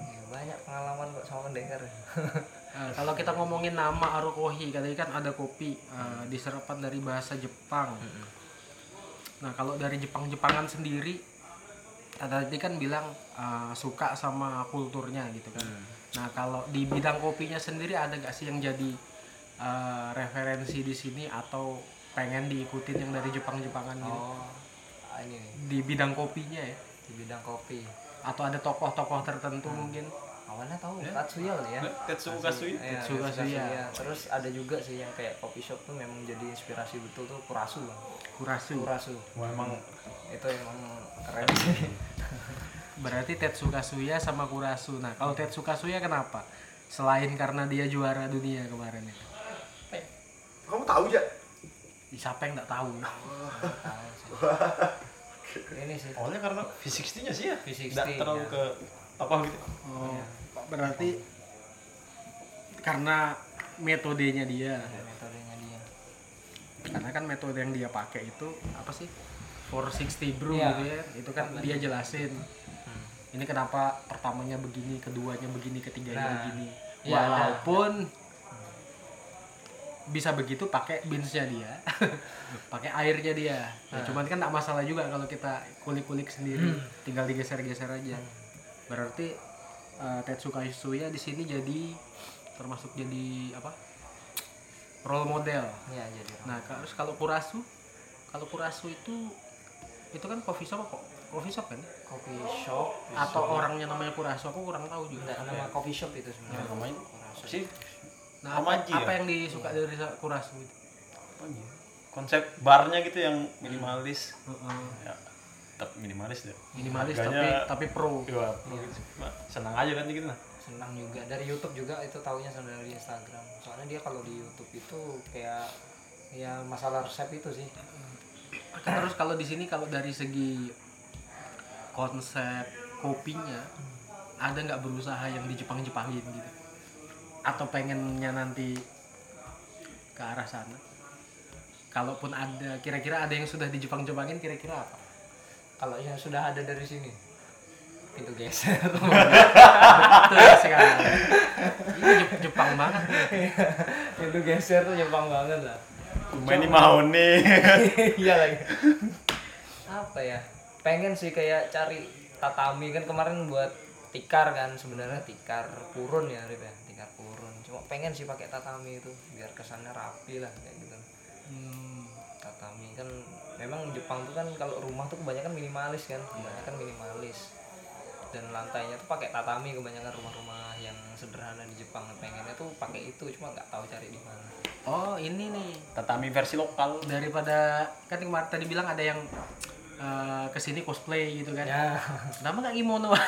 B: Ya, Banyak pengalaman kok sama pendekar.
A: Eh, kalau kita ngomongin nama arukohi katanya kan ada kopi eh, diserapan dari bahasa Jepang nah kalau dari Jepang Jepangan sendiri tadi kan bilang eh, suka sama kulturnya gitu kan nah kalau di bidang kopinya sendiri ada gak sih yang jadi eh, referensi di sini atau pengen diikutin yang dari Jepang Jepangan gitu
B: oh, ah, ini nih
A: di bidang kopinya ya
B: di bidang kopi.
A: atau ada tokoh-tokoh tertentu mungkin
B: Awalnya tahu Tatsuya kali ya.
D: Tetsuo Kasuya.
B: Iya,
A: Tatsuya,
B: Tatsuya.
A: iya.
B: Terus ada juga sih yang kayak coffee shop tuh memang jadi inspirasi betul tuh Kurasu, Bang.
A: kurasu
B: Kurasu.
D: Wah, emang
B: Itu emang keren sih.
A: berarti Tetsuka Suya sama Kurasu nah kalau Tetsuka Suya kenapa selain karena dia juara dunia kemarin itu
C: Kamu tahu ya?
A: Ih, siapa yang nggak tahu
B: Tahu sih. Ini sih.
D: awalnya karena V60-nya sih ya.
B: V60,
D: Nggak terlalu
B: ya.
D: ke apa gitu.
A: oh berarti karena metodenya dia
B: metodenya dia.
A: karena kan metode yang dia pakai itu apa sih 460 brew
B: Iya. Hmm.
A: gitu ya itu kan dia jelasin ini kenapa pertamanya begini keduanya begini ketiganya
B: Nah.
A: begini
B: Iya, ada.
A: walaupun bisa begitu pakai beansnya dia pakai airnya dia Ya,
B: Nah.
A: cuman kan tak masalah juga kalau kita kulik-kulik sendiri
B: Hmm.
A: tinggal digeser-geser aja berarti eh, Tetsuka Yusuya di sini jadi termasuk jadi apa role model
B: Iya, jadi orang.
A: nah ka- terus kalau Kurasu kalau Kurasu itu itu kan coffee shop apa coffee shop kan
B: Kopi shop Nah,
A: atau orangnya namanya Kurasu aku kurang tahu juga
B: Enggak, nama coffee shop itu sebenarnya.
D: namanya
B: Iya, Kurasa.
D: sih
A: nah apa,
D: Hamaji ya?
A: apa yang disuka dari Kurasu itu
D: apa ya? konsep barnya gitu yang minimalis
A: Heeh.
D: ya tetap minimalis deh
A: minimalis
D: Harganya-
A: tapi tapi pro
D: ya, gitu. Nah, senang aja kan gitu nah
B: senang juga dari YouTube juga itu taunya sama dari Instagram soalnya dia kalau di YouTube itu kayak ya masalah resep itu sih
A: terus kalau di sini kalau dari segi konsep kopinya ada nggak berusaha yang di Jepang Jepangin gitu atau pengennya nanti ke arah sana kalaupun ada kira-kira ada yang sudah di Jepang Jepangin kira-kira apa
B: kalau yang sudah ada dari sini pintu geser
A: betul sekali ini Jep- Jepang banget
B: pintu geser tuh Jepang banget lah
D: gue ini mau nih
B: iya lagi apa ya pengen sih kayak cari tatami kan kemarin buat tikar kan sebenarnya tikar purun ya Rip ya tikar purun cuma pengen sih pakai tatami itu biar kesannya rapi lah kayak gitu
A: Hmm,
B: tatami kan memang Jepang tuh kan kalau rumah tuh kebanyakan minimalis kan kebanyakan minimalis dan lantainya tuh pakai tatami kebanyakan rumah-rumah yang sederhana di Jepang pengennya tuh pakai itu cuma nggak tahu cari di mana
A: oh ini nih
D: tatami versi lokal
A: daripada kan kemarin tadi bilang ada yang eh, kesini cosplay gitu kan
B: ya
A: kenapa nggak kimono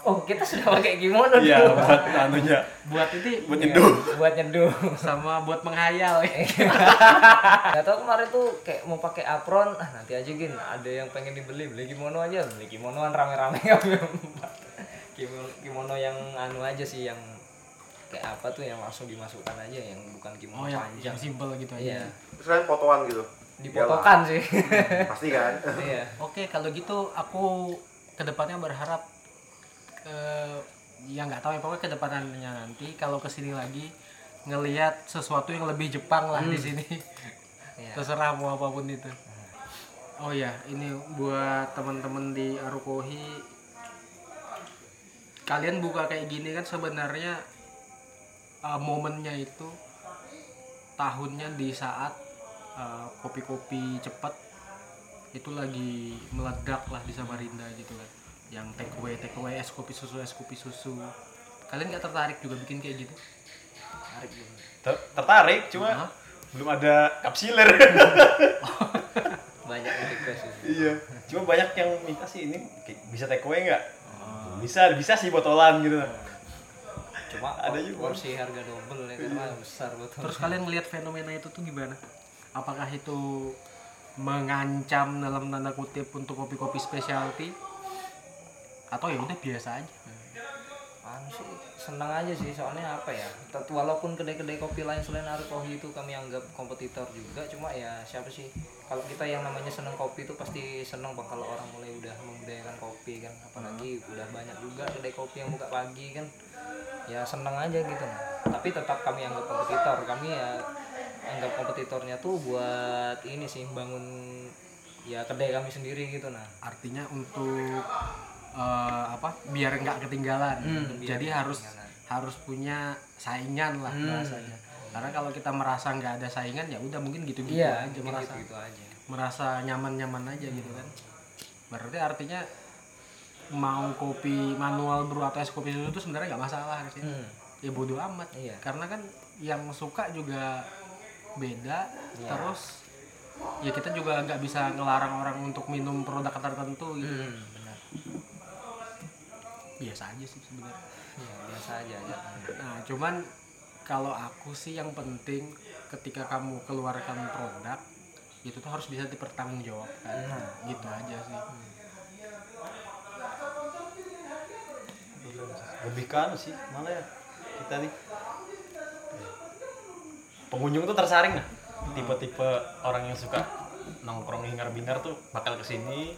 B: oh kita sudah pakai kimono
D: iya
B: dulu.
D: buat anunya
A: buat itu
D: buat
B: Iya.
D: nyeduh
B: buat nyeduh
A: sama buat menghayal
B: nggak tahu kemarin tuh kayak mau pakai apron ah nanti aja gin ada yang pengen dibeli beli kimono aja beli kimonoan rame-rame kami empat. kimono, kimono yang anu aja sih yang kayak apa tuh yang langsung dimasukkan aja yang bukan
A: oh
B: kimono
A: yang,
B: panjang
A: yang simple gitu aja
B: iya
C: Terus kalian fotoan gitu. Iyalah,
B: dipotokan sih
C: Pasti kan.
B: iya
A: oke kalau gitu aku kedepannya berharap eh, ya nggak tahu ya pokoknya kedepannya nanti kalau kesini lagi ngelihat sesuatu yang lebih Jepang lah di sini
B: Iya.
A: terserah mau apapun itu oh ya ini buat teman-teman di Arukohi kalian buka kayak gini kan sebenarnya eh, momennya itu tahunnya di saat eh, kopi-kopi cepet itu lagi meledak lah di Samarinda gitu kan yang take away take away es kopi susu es kopi susu kalian nggak tertarik juga bikin kayak gitu
B: tarik dulu
D: Ter- tertarik cuma
A: Hah?
D: belum ada kapsiler
B: banyak yang request sih
D: iya cuma banyak yang minta sih ini kayak bisa take away nggak bisa bisa sih botolan gitu
B: cuma
D: Ada
B: ada
D: juga.
B: porsi harga double ya kan wah, besar betul
A: terus kalian melihat fenomena itu tuh gimana apakah itu mengancam dalam tanda kutip untuk kopi-kopi specialty atau ya udah biasa aja
B: Apaan Anu sih senang aja sih soalnya apa ya tet- walaupun kedai-kedai kopi lain selain Arukohi itu kami anggap kompetitor juga cuma ya siapa sih kalau kita yang namanya senang kopi itu pasti senang bang kalau orang mulai udah membudayakan kopi kan apalagi udah banyak juga kedai kopi yang buka pagi kan ya senang aja gitu tapi tetap kami anggap kompetitor kami ya anggap kompetitornya tuh buat ini sih bangun ya kedai kami sendiri gitu nah
A: artinya untuk eh, apa biar nggak ketinggalan
B: Hmm, biar
A: jadi
B: nggak
A: harus
B: ketinggalan. Hmm.
A: harus punya saingan lah bahasanya karena kalau kita merasa nggak ada saingan ya udah mungkin gitu-gitu aja Iya,
B: mungkin
A: merasa
B: gitu, gitu aja
A: merasa nyaman-nyaman aja gitu kan berarti artinya mau kopi manual brew atau es kopi susu itu sebenarnya nggak masalah harusnya
B: Hmm.
A: ya bodo amat
B: Iya.
A: karena kan yang suka juga beda
B: Iya.
A: terus ya kita juga nggak bisa ngelarang orang untuk minum produk tertentu gitu
B: Hmm, benar Hmm.
A: biasa aja sih sebenarnya
B: ya, biasa aja aja
A: nah cuman kalau aku sih yang penting ketika kamu keluarkan produk itu tuh harus bisa dipertanggungjawabkan
B: Nah.
A: gitu aja sih
B: Hmm.
D: lebih kan sih malah ya kita nih pengunjung tuh tersaring nah tipe-tipe orang yang suka nongkrong hingar bingar tuh bakal kesini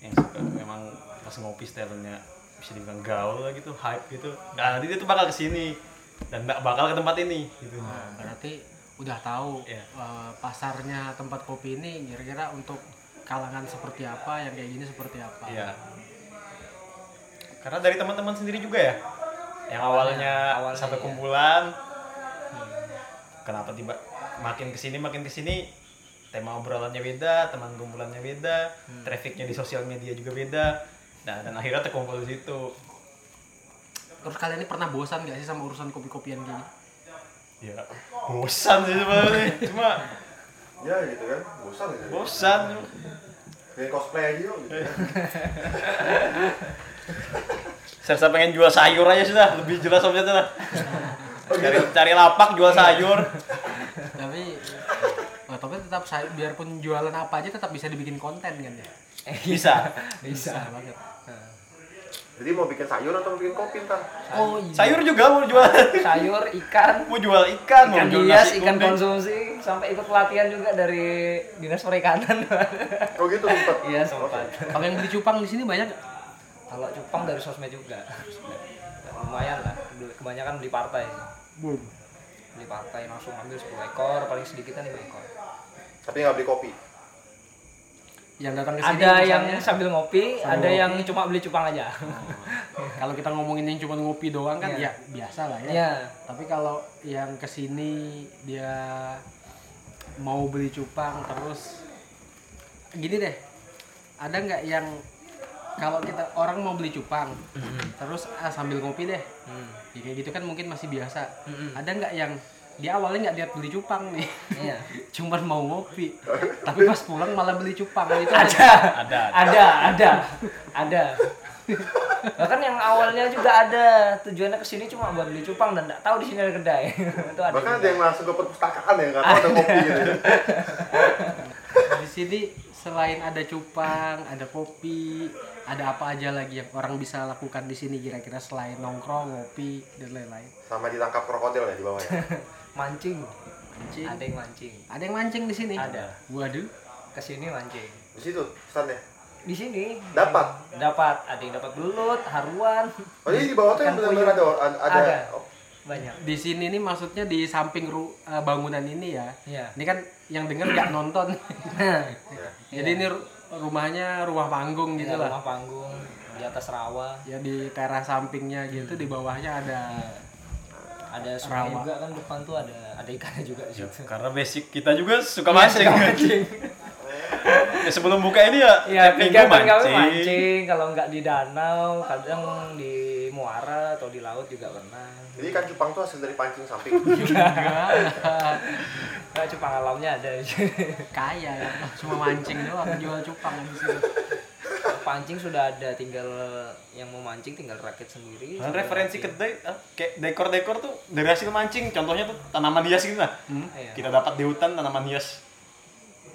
D: yang suka memang pas ngopi stylenya bisa dibilang gaul lah gitu hype gitu nah nanti dia tuh bakal kesini dan nggak bakal ke tempat ini gitu
A: Nah, berarti udah tahu
D: Iya.
A: eh, pasarnya tempat kopi ini kira-kira untuk kalangan seperti apa, yang kayak gini seperti apa.
D: Iya. Karena dari teman-teman sendiri juga ya. Yang awalnya,
B: awalnya
D: sampai
B: iya.
D: kumpulan. Kenapa tiba makin kesini makin kesini tema obrolannya beda, teman kumpulannya beda, trafficnya di sosial media juga beda. Nah, dan akhirnya terkumpul di situ.
A: Terus kalian ini pernah bosan gak sih sama urusan kopi-kopian gini?
D: Ya, bosan sih sebenarnya. Cuma
C: ya gitu kan bosan gitu
D: bosan.
C: kayak cosplay aja yuk, gitu kan
D: Serasa pengen jual sayur aja sudah, lebih jelas omsetnya lah. Cari, cari lapak jual sayur.
A: tapi oh, tapi tetap saya biarpun jualan apa aja tetap bisa dibikin konten kan ya.
D: Bisa.
B: bisa
A: banget.
C: jadi mau bikin sayur atau mau bikin kopi ntar
A: Oh iya.
D: Sayur juga mau jual.
B: sayur ikan
D: mau jual ikan,
B: ikan
D: mau jual
B: hias
D: nasi
B: ikan
D: kuning.
B: konsumsi sampai ikut pelatihan juga dari dinas perikanan
C: oh gitu sempet
B: iya sempat
A: Kalau yang beli cupang di sini banyak nggak?
B: kalau cupang dari sosmed juga Ya, lumayan lah Beli- kebanyakan beli partai sih. beli partai langsung ambil 10 ekor paling sedikitnya 5 ekor
C: tapi nggak beli kopi
A: yang datang ke sini
B: ada yang
A: misalnya,
B: sambil ngopi ada yang cuma beli cupang aja
A: kalau kita ngomongin yang cuma ngopi doang kan
B: Iya.
A: ya biasa lah ya.
B: Iya.
A: Tapi kalau yang ke sini dia mau beli cupang terus gini deh. Ada nggak yang kalau kita orang mau beli cupang terus ah, sambil ngopi deh
B: Hmm.
A: Ya, kayak gitu kan mungkin masih biasa.
B: Mm-mm.
A: Ada nggak yang dia awalnya nggak lihat beli cupang nih,
B: Iya.
A: cuman mau ngopi. Tapi pas pulang malah beli cupang itu ada.
B: Ada.
D: Ada.
B: ada ada ada bahkan kan yang awalnya juga ada tujuannya kesini cuma buat beli cupang dan nggak tahu di sini ada kedai itu ada
C: bahkan ada
B: juga.
C: yang langsung ke perpustakaan ya nggak tahu ada kopi gitu
A: Di sini selain ada cupang, ada kopi, ada apa aja lagi yang orang bisa lakukan di sini kira-kira selain nongkrong, ngopi dan lain-lain.
C: sama ditangkap krokodil ya di bawah ya
B: mancing
A: Mancing.
B: ada yang mancing
A: Ada yang mancing di sini?
B: Ada.
A: Waduh.
B: kesini mancing
C: di situ pesannya
B: di sini
C: Dapat?
B: dapat ada yang dapat belut haruan
C: oh jadi di bawah tuh yang
B: Ikan
C: benar-benar ada ada,
B: ya? Ada.
C: oh,
B: banyak
A: Di sini nih maksudnya di samping ru- eh, bangunan ini ya.
B: Iya.
A: Ini kan yang denger nggak nonton.
B: Nah,
A: Jadi ini ru- rumahnya rumah panggung
B: di
A: gitu lah.
B: rumah panggung di atas rawa
A: ya di teras sampingnya gitu di bawahnya ada
B: ada sungai
A: Rawa.
B: juga kan depan tuh ada ada ikannya juga di
D: Ya,
B: situ.
D: karena basic kita juga suka mancing.
B: Iya, mancing
D: ya, sebelum buka ini ya,
B: Iya,
D: tiap minggu
B: kegiatan kami mancing kalau nggak di danau kadang di muara atau di laut juga pernah
C: jadi ikan cupang tuh hasil dari pancing samping
B: nggak cupang alamnya ada di sini.
A: kaya ya cuma mancing doang jual cupang di sini
B: pancing sudah ada tinggal yang mau mancing tinggal rakit sendiri
D: Karena referensi kedai ah, kayak dekor-dekor tuh dari hasil mancing. Contohnya tuh tanaman hias gitu lah.
B: Iya.
D: Kita dapat di hutan tanaman hias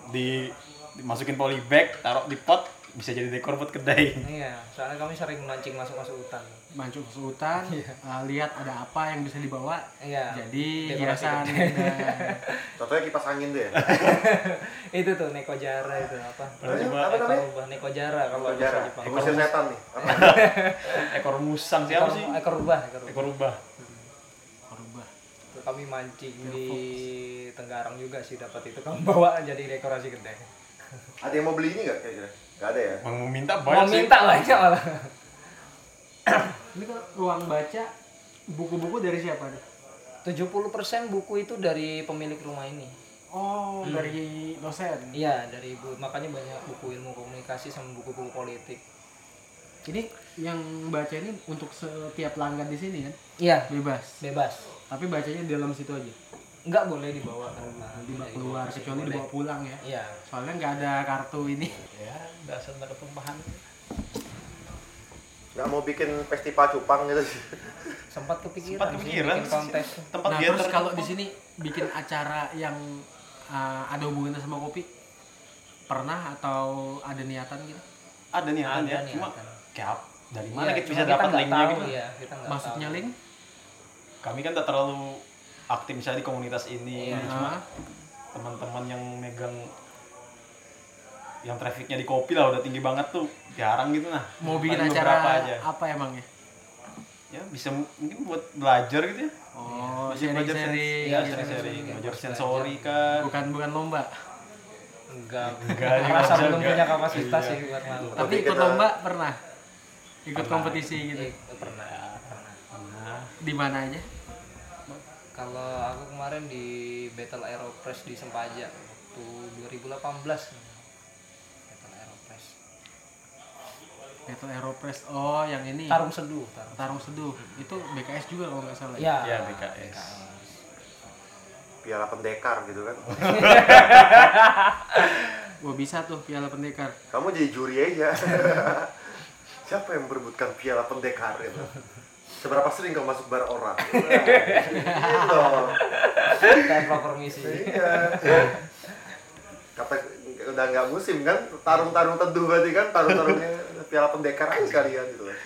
D: di dimasukin polybag, taruh di pot bisa jadi dekor buat kedai.
B: iya soalnya kami sering mancing masuk masuk hutan
A: mancing ke hutan eh, lihat ada apa yang bisa dibawa
B: Iya.
A: jadi
B: Dekorasi
A: hiasan
B: gede.
A: Nah,
C: contohnya kipas angin ya? deh
B: itu tuh neko jara itu apa
D: Pernah coba
C: apa
B: Ekor
C: namanya
B: rubah neko jara kalau bahasa
C: penjara
B: Jepang.
C: ekor setan nih apa
D: ekor musang
B: ekor,
D: siapa sih?
B: ekor rubah ekor rubah.
D: Ekor rubah.
A: berubah
B: Itu kami mancing di Tenggarang juga sih dapat itu kami bawa jadi dekorasi gede
C: ada yang mau beli ini nggak kira-kira nggak ada ya
D: Mau minta
B: mau
D: banyak sih.
B: minta banyak malah
A: ini kan ruang baca buku-buku dari siapa nih
B: 70% buku itu dari pemilik rumah ini
A: oh dari dosen
B: iya dari ibu makanya banyak buku ilmu komunikasi sama buku-buku politik
A: ini yang baca ini untuk setiap pelanggan di sini kan
B: iya
A: bebas
B: bebas
A: tapi bacanya di dalam situ aja
B: nggak boleh dibawa ke rumah
A: dibawa keluar kecuali dibawa pulang ya
B: iya
A: soalnya nggak ada kartu ini
D: Ya, dasar nggak ketumpahan.
C: nggak mau bikin festival cupang gitu sih
B: sempat kepikiran
D: Sempat
B: sih
D: kepikiran
B: Iya, bikin kontes
D: tempat
A: Nah,
D: gathering.
A: terus kalau di sini bikin acara yang uh, ada hubungannya sama kopi pernah atau ada niatan gitu?
D: ada niatan
B: Ada
D: ya cuma
B: niatan.
D: gap dari mana
B: Iya,
D: kita
B: cuma
D: bisa dapat
B: nggak
D: linknya
B: tahu,
D: gitu
B: iya, kita nggak
A: Maksudnya
B: tahu.
A: link?
D: kami kan tak terlalu aktif misalnya di komunitas ini
B: Iya.
D: cuma teman-teman yang megang yang trafficnya di kopi lah udah tinggi banget tuh jarang gitu nah
A: Mau bikin
D: Paling
A: acara
D: beberapa aja
A: apa emangnya?
D: ya bisa m- mungkin buat belajar gitu ya
A: Oh,
D: Belajar-
A: sharing
D: belajar
A: sharing.
D: sens- ya sharing-sharing belajar sensori kan
A: Bukan bukan lomba.
B: enggak
D: Enggak, juga
B: merasa
D: bisa
B: belum
D: enggak.
B: punya kapasitas
D: Iya.
B: sih buat malu
A: Tapi
C: Lebih
A: ikut
C: kita-
A: lomba pernah. Ikut kompetisi gitu.
B: Eh, pernah pernah
D: nah,
A: Di mana aja?
B: kalau aku kemarin di Battle Aeropress di Sempaja waktu 2018 Battle Aeropress
A: Battle Aeropress. Oh, yang
C: Hmm.
A: ini.
B: Tarung Seduh Tarung
A: Tarung Seduh. Itu BKS juga kalau nggak salah.
B: Ya,
D: ya BKS
B: Nah,
C: piala pendekar gitu kan
A: Wah, bisa tuh Piala Pendekar.
C: kamu jadi juri aja siapa yang merebutkan piala pendekar itu seberapa sering kamu masuk bar orang gitu
B: tanpa permisi.
C: iya kata udah nggak musim kan tarung-tarung teduh berarti kan tarung-tarungnya piala pendekar aja sekalian gitu loh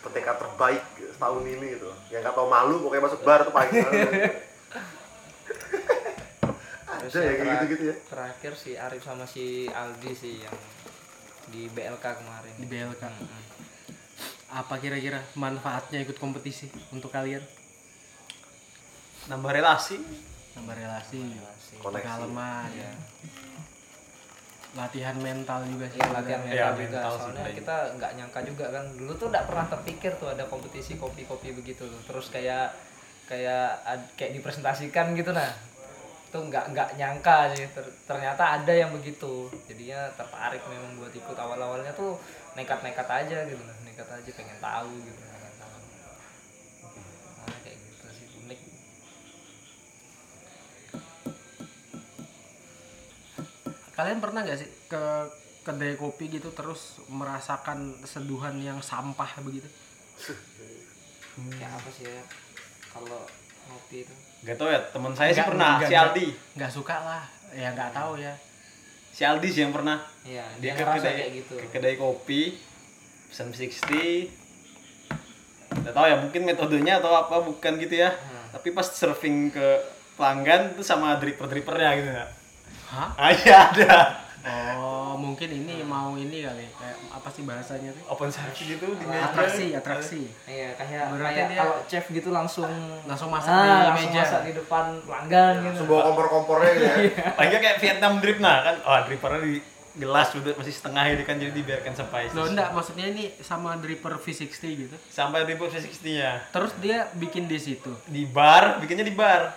C: pendekar terbaik setahun ini gitu yang nggak tahu malu pokoknya masuk bar tuh paling malu. ada ya kayak gitu gitu ya
B: Terakhir si Arif sama si Aldi sih yang di BLK kemarin.
A: Di BLK. Apa kira-kira manfaatnya ikut kompetisi untuk kalian?
D: nambah relasi
A: Nambah relasi,
C: Koneksi.
A: pengalaman, latihan mental juga sih.
B: Iya latihan
D: Iya,
B: mental juga.
D: mental sih
B: Soalnya
D: paling.
B: kita nggak nyangka juga kan. Dulu tuh nggak pernah terpikir tuh ada kompetisi kopi-kopi begitu. tuh. Terus kayak kayak ad- kayak dipresentasikan gitu nah. Itu nggak nggak nyangka sih. Ter- ternyata ada yang begitu. Jadinya tertarik memang buat ikut awal-awalnya tuh nekat-nekat aja gitu nah. Nekat aja pengen tahu gitu. pengen tahu. Nah, kayak gitu sih unik.
A: Kalian pernah nggak sih ke kedai kopi gitu terus merasakan seduhan yang sampah begitu?
B: Kayak
D: Hmm.
B: apa sih ya kalau ngopi itu
D: gak tau ya teman saya sih
A: Nggak-
D: pernah
A: nggak-
D: si Aldi
A: Nggak suka lah, ya nggak tahu ya.
D: si Aldi sih yang pernah
B: Iya,
D: dia
B: dia,
D: ke
B: ngerasa
D: kedai
B: kayak gitu.
D: ke kedai kopi pesan 60 nggak tahu ya mungkin metodenya atau apa bukan gitu ya
B: Hmm.
D: tapi pas surfing ke pelanggan tuh sama dripper drippernya gitu ya
A: Hah?
D: ah iya ada
A: Oh, mungkin ini mau ini kali. Kayak apa sih bahasanya tuh?
D: open service gitu di meja
A: Atraksi, atraksi.
B: Iya, kayak
A: Berarti
B: kayak
A: dia-
B: kalau chef gitu langsung
A: Langsung masak di
B: Ah, langsung
A: meja. Iya,
B: masak di depan pelanggan gitu.
C: semua kompor-kompornya gitu ya
D: Lagi kayak Vietnam drip nah kan oh drippernya di gelas udah masih setengah gitu kan jadi dibiarkan sampai
A: Loh enggak, maksudnya ini sama dripper V60 gitu.
D: sampai dripper 60 nya
A: Terus dia bikin di situ.
D: di bar bikinnya di bar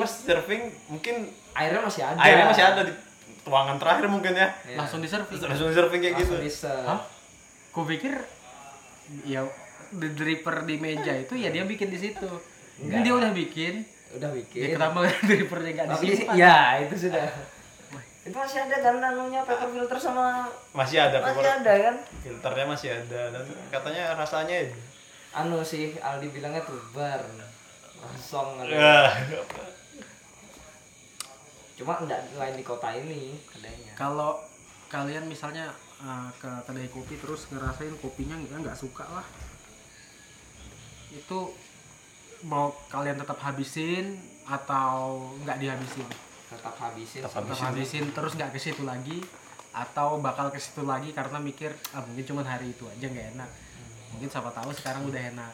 A: Tapi-
D: pas surfing mungkin
B: Airnya masih ada.
D: airnya masih ada di tuangan terakhir mungkin ya
B: Iya.
A: Langsung di
D: terus
A: service.
D: langsung surfing kayak
B: Langsung
D: gitu
B: bisa.
A: Hah? Ku pikir ya the dripper di meja itu ya dia bikin di situ. Ini dia udah bikin,
B: Udah
A: ya
B: bikin.
A: kenapa drippernya enggak di
B: Iya. Tapi
A: situ?
B: ya itu sudah. itu masih ada kan anunya paper filter sama
D: masih ada
B: masih
D: pokoknya.
B: ada Iya. kan?
D: filternya masih ada dan katanya rasanya ya.
B: Anu sih Aldi bilangnya tuh bar. Langsung ada.
D: Wah,
B: Cuma enggak lain di kota ini kedainya.
A: Kalau kalian misalnya eh, ke kedai kopi terus ngerasain kopinya nggak nggak suka lah, itu mau kalian tetap habisin atau nggak dihabisin?
B: Tetap habisin.
D: Tetap
B: sih.
A: Tetap habisin terus nggak ke situ lagi atau bakal ke situ lagi karena mikir ah mungkin cuman hari itu aja nggak enak. Mungkin siapa tahu sekarang udah enak.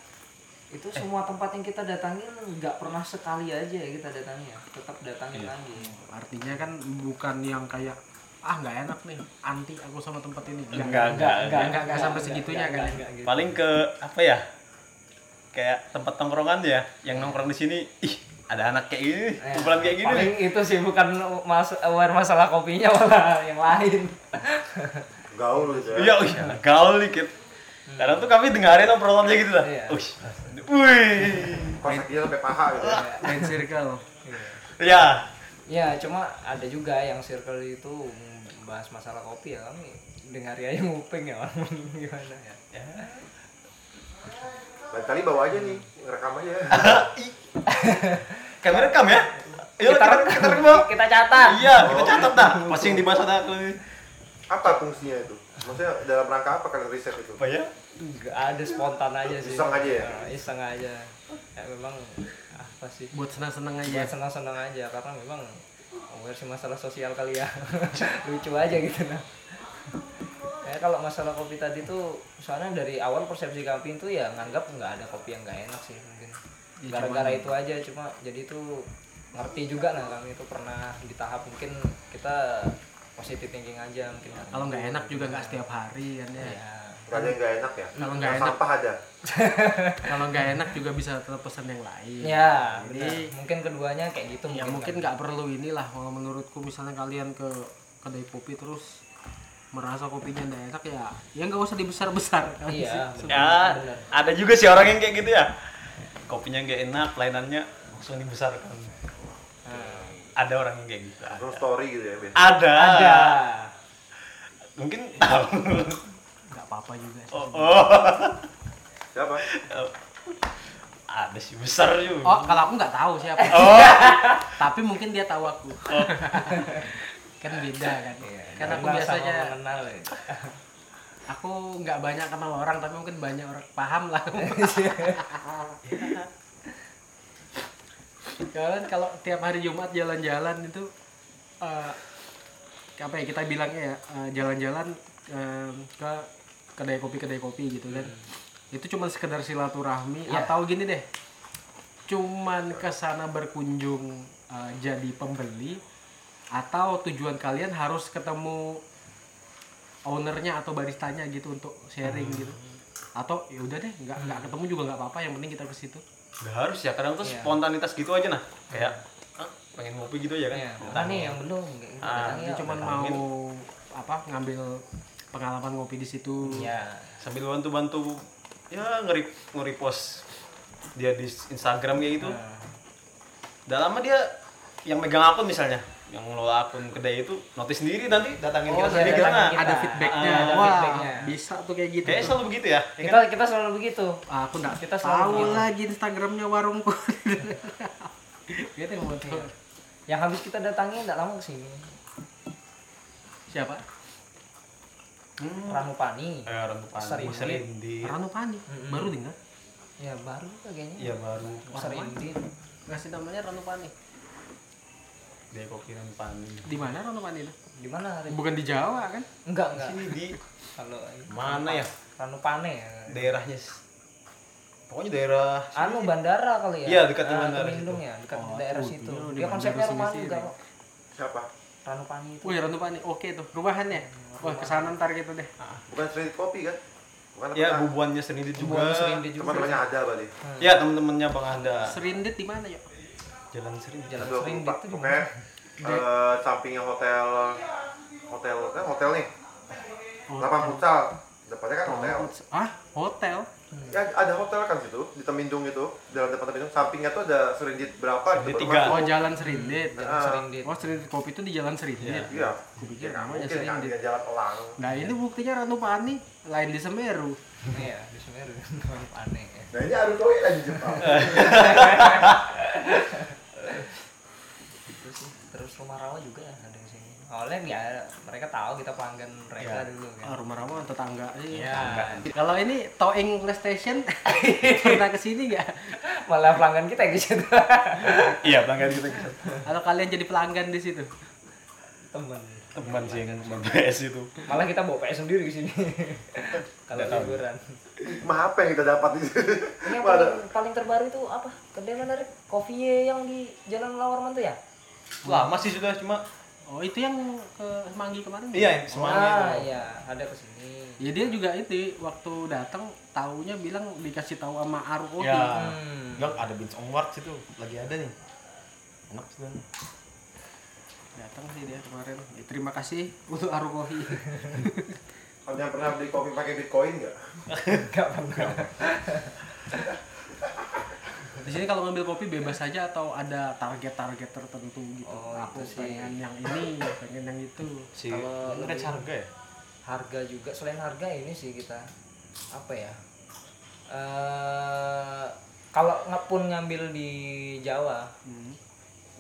B: itu semua tempat yang kita datangin nggak pernah sekali aja ya kita datangnya tetap datangin
A: Iya.
B: lagi
A: Artinya kan bukan yang kayak ah nggak enak nih anti aku sama tempat ini. Nggak,
D: Nggak, nggak,
A: nggak,
D: nggak.
A: nggak, nggak sampai segitunya kan.
B: enggak, gitu.
D: paling ke apa ya kayak tempat tongkrongan ya yang nongkrong di sini ih ada anak kayak gini
B: Eh,
D: kumpulan kayak gini
B: paling itu sih bukan mas aware masalah kopinya malah yang lain
C: gaul gitu ya
D: iya wih gaul dikit kadang tuh kami dengarin obrolannya gitu lah
B: Hmm. Iya.
D: wih wih
C: konsepnya sampai paha gitu ya
A: Main circle.
D: ya
B: ya cuma ada juga yang circle itu bahas masalah kopi ya kami dengarin aja nguping ya gimana ya
C: Lain kali bawa aja nih, rekam aja.
D: kami rekam ya Ayo
B: kita
D: kita rekam, kita rekam. Bang.
B: kita catat
D: Iya, kita catat dah. Pasti yang dibahas ada aku ini.
C: Apa fungsinya itu? Maksudnya dalam rangka apa kalian riset itu?
D: Apa ya?
B: nggak ada spontan aja sih
C: Iseng aja ya?
B: Nah, iseng aja ya memang apa sih
A: Buat senang-senang aja.
B: buat senang-senang Ya, aja karena memang aware sih masalah sosial kali ya lucu aja gitu nah ya kalau masalah kopi tadi tuh soalnya dari awal persepsi kami itu ya nganggap nggak ada kopi yang nggak enak sih mungkin
A: Ya,
B: gara-gara itu aja cuma jadi itu ngerti juga nah kami itu pernah di tahap mungkin kita positive thinking aja mungkin karena
A: Kalau nggak
B: itu.
A: enak juga nggak setiap hari kan ya.
B: ya
C: Gak ada yang nggak enak ya?
A: Kalau nggak
C: Yang
A: enak.
C: Sampah ada.
A: Kalau nggak enak juga bisa terpesan yang lain.
B: ya
A: Iya. Jadi
B: benar. mungkin keduanya kayak gitu
A: ya
B: kan.
A: mungkin nggak perlu inilah kalau menurutku misalnya kalian ke kedai kopi terus merasa kopinya nggak enak ya ya nggak usah dibesar besar
B: iya
D: ya
B: benar.
D: ada juga sih orang yang kayak gitu ya kopinya nggak enak lainannya langsung dibesarkan kan. ada orang yang kayak gitu ada
C: Terus story gitu ya, Ben.
D: ada,
B: ada
D: mungkin tahu
A: nggak apa apa juga sih.
D: oh, oh.
C: Siapa?
D: ada sih besar juga Oh.
A: oh kalau aku nggak tahu siapa
B: Oh.
A: tapi mungkin dia tahu aku kan beda kan
B: Iya,
A: karena aku
B: kenal sama
A: biasanya
B: mengenal ya.
A: aku nggak banyak kenal orang tapi mungkin banyak orang paham lah kalian kalau tiap hari Jumat jalan-jalan itu eh, apa ya kita bilangnya ya eh, jalan-jalan eh, ke kedai kopi kedai kopi gitu kan itu cuma sekedar silaturahmi
B: Iya.
A: atau gini deh cuman ke sana berkunjung eh, jadi pembeli atau tujuan kalian harus ketemu ownernya atau baristanya gitu untuk sharing gitu atau ya udah deh nggak nggak ketemu juga nggak apa-apa yang penting kita ke situ
D: nggak harus ya kadang tuh
B: Iya.
D: spontanitas gitu aja nah kayak "Ah, pengen ngopi gitu aja kan
B: Iya,
D: Entah.
B: mana nih yang belum kayak gitu.
D: Ah,
B: Datangnya
A: dia cuma
B: orang.
A: mau apa ngambil pengalaman ngopi di situ
B: Iya.
D: sambil bantu-bantu ya ngeri nge-repost dia di Instagram kayak gitu
B: Nah,
D: udah lama dia yang megang akun misalnya yang ngelola akun kedai itu notice sendiri nanti datangin
B: Oh,
D: kita sendiri
B: datangin
D: gimana
B: kita.
A: ada feedbacknya
D: Ah, ada
A: wah
B: feedbacknya.
A: bisa tuh kayak gitu
D: kayaknya
A: tuh.
D: selalu begitu ya ya
B: Iya, kita
D: kan?
B: kita selalu begitu.
A: Ah, aku nggak
B: Kita selalu
A: tahu
B: begitu.
A: lagi Instagramnya warungku gitu yang buat
B: Yang habis kita datangi tidak lama kesini.
A: siapa
D: hmm.
B: Ranu Pani.
D: eh, orang depan
B: Besar ini.
D: besar indi
A: Rano Pani
B: Mm-mm.
A: baru dengar
B: Ya baru kayaknya.
D: ya baru
B: Besar Indi.
A: ngasih namanya Rano Pani
D: dia kopi orang depan
A: di mana Rano Pani itu
B: Di mana hari?
A: bukan di Jawa kan
B: Enggak enggak.
D: sini di
B: Kalau
D: mana ya
B: Ranu Pane ya.
D: daerahnya s- pokoknya daerah
B: Anu bandara kali ya.
D: Iya, dekat di
B: Ah,
D: bandara
B: Temindung
D: situ.
B: ya, dekat
A: Oh,
B: daerah
A: tuh,
B: situ.
A: dia di
B: Dia
A: bandara
B: konsepnya rumah
A: sini-sini.
B: enggak kok.
C: Siapa?
B: Ranu Pani
D: Ah.
B: itu.
A: wih Rano Oh, ya Pani oke tuh rumahannya wah kesana ntar gitu deh
C: Bukan street kopi kan? Bukan apa?
D: ya
C: Nah,
D: bubuannya sendiri juga
B: Buang sering dia juga.
C: Teman-temannya ada berarti.
D: ya temen-temennya bang Anda
A: Serindit di mana ya
D: jalan sering gitu
B: Jalan
C: Aduh, aku
B: sering
C: lupa.
B: itu di
C: Pokoknya
B: mana?
C: eh, sampingnya hotel hotel kan hotel nih.
A: Hotel.
C: Lapang Pucal. Depannya kan hotel.
A: ah hotel
C: Ya ada hotel kan situ di Temindung itu, jalan depan Temindung. Sampingnya tuh ada serindit berapa
D: Serindit
C: gitu,
D: tiga.
C: berempat.
A: oh jalan Serindit
B: Jalan sering dia.
A: Oh Serindit Kopi itu di Jalan Serindit.
C: Iya.
A: Aku pikir
C: Ya, nggak
A: namanya
C: mungkin kan
A: Serindit.
C: dia jalan elang.
A: Nah ini buktinya Ranu Pani lain di Semeru.
B: Iya, di Semeru. Ranu Pane. ya.
C: Nah ini Aruto ya di Jepang.
B: Gitu sih. Terus rumah rawa juga ada di sini. Awalnya ya mereka tahu kita pelanggan
D: Iya.
B: mereka dulu kan.
A: Ah, rumah Rama tetangga. Iya.
B: Ya,
A: Kalau ini Toeng PlayStation pernah kesini nggak?
B: malah pelanggan kita yang di situ.
D: iya pelanggan kita ke-
A: Atau kalian jadi pelanggan di situ?
B: Temen.
D: teman sih yang teman PS itu
B: Malah kita bawa PS sendiri ke sini. Kalau
D: Nggak tahu.
B: liburan.
C: Hikmah apa yang kita dapat di sini?
B: Ini yang
C: Waduh.
B: paling, paling terbaru itu apa? Kedai menarik Kopi yang di Jalan Lawarman tuh ya?
D: lama sih sudah cuma
A: Oh itu yang ke Semanggi kemarin?
D: iya yang
B: ah,
D: semuanya itu
B: iya, ada ke sini.
A: Ya dia juga itu waktu datang taunya bilang dikasih tahu sama Aru Oti.
D: ya
B: Hmm.
D: Enggak, ada Beans on Wars itu lagi ada nih enak sih kan.
A: Datang sih dia kemarin. Ya, terima kasih untuk Aru Kohi.
C: Ada yang pernah beli kopi pakai Bitcoin nggak?
B: Enggak pernah.
A: di sini kalau ngambil kopi bebas saja atau ada target-target tertentu gitu.
B: Oh,
A: Aku
B: itu sih.
A: pengen yang ini, pengen yang itu.
D: si
B: Kalau
D: Ini range harga ya
B: Harga juga selain harga ini sih kita apa ya? Eh kalau nge- pun ngambil di Jawa,
A: Hmm.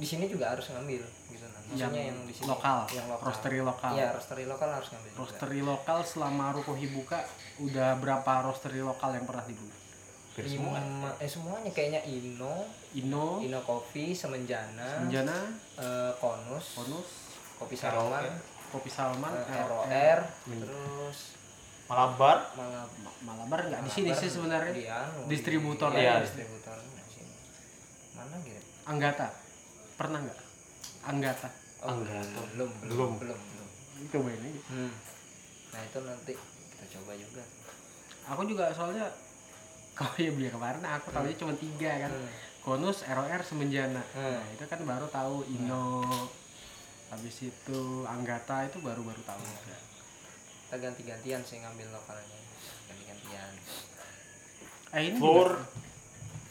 B: di sini juga harus ngambil gitu nah.
A: Yang
B: Maksudnya yang, di sini
A: lokal,
B: yang lokal.
A: roastery lokal.
B: Iya, roastery lokal harus ngambil. juga.
A: Roastery lokal selama Rukohi buka udah berapa roastery lokal yang pernah dibuka?
B: Lima, eh semuanya kayaknya Ino,
A: Ino,
B: Ino Coffee, Semenjana,
A: Menjana,
B: eh, Konus,
A: Bonus,
B: Kopi Saroman,
A: Kopi Salman,
B: eh,
A: ROR.
B: ROR, terus
D: Malabar
B: malah
A: Malabar nggak di sini sih sebenarnya. Distributor.
B: Distributor ya,
D: Iya.
B: distributor. Mana gitu?
A: Anggata. Pernah nggak? Anggata.
B: Oh, belum, belum, belum, belum.
A: Coba ini. aja.
B: Hmm. Nah, itu nanti kita coba juga.
A: Aku juga soalnya kalau yang beli kemarin aku tahunya cuma tiga kan.
B: Hmm.
A: Konus, ROR, Semenjana.
B: Hmm.
A: Nah, itu kan baru tahu Ino. Habis itu Anggata itu baru-baru tahu.
B: Kita ganti-gantian sih ngambil lokalnya. Ganti-gantian.
A: Eh ini
D: Floor.
A: juga-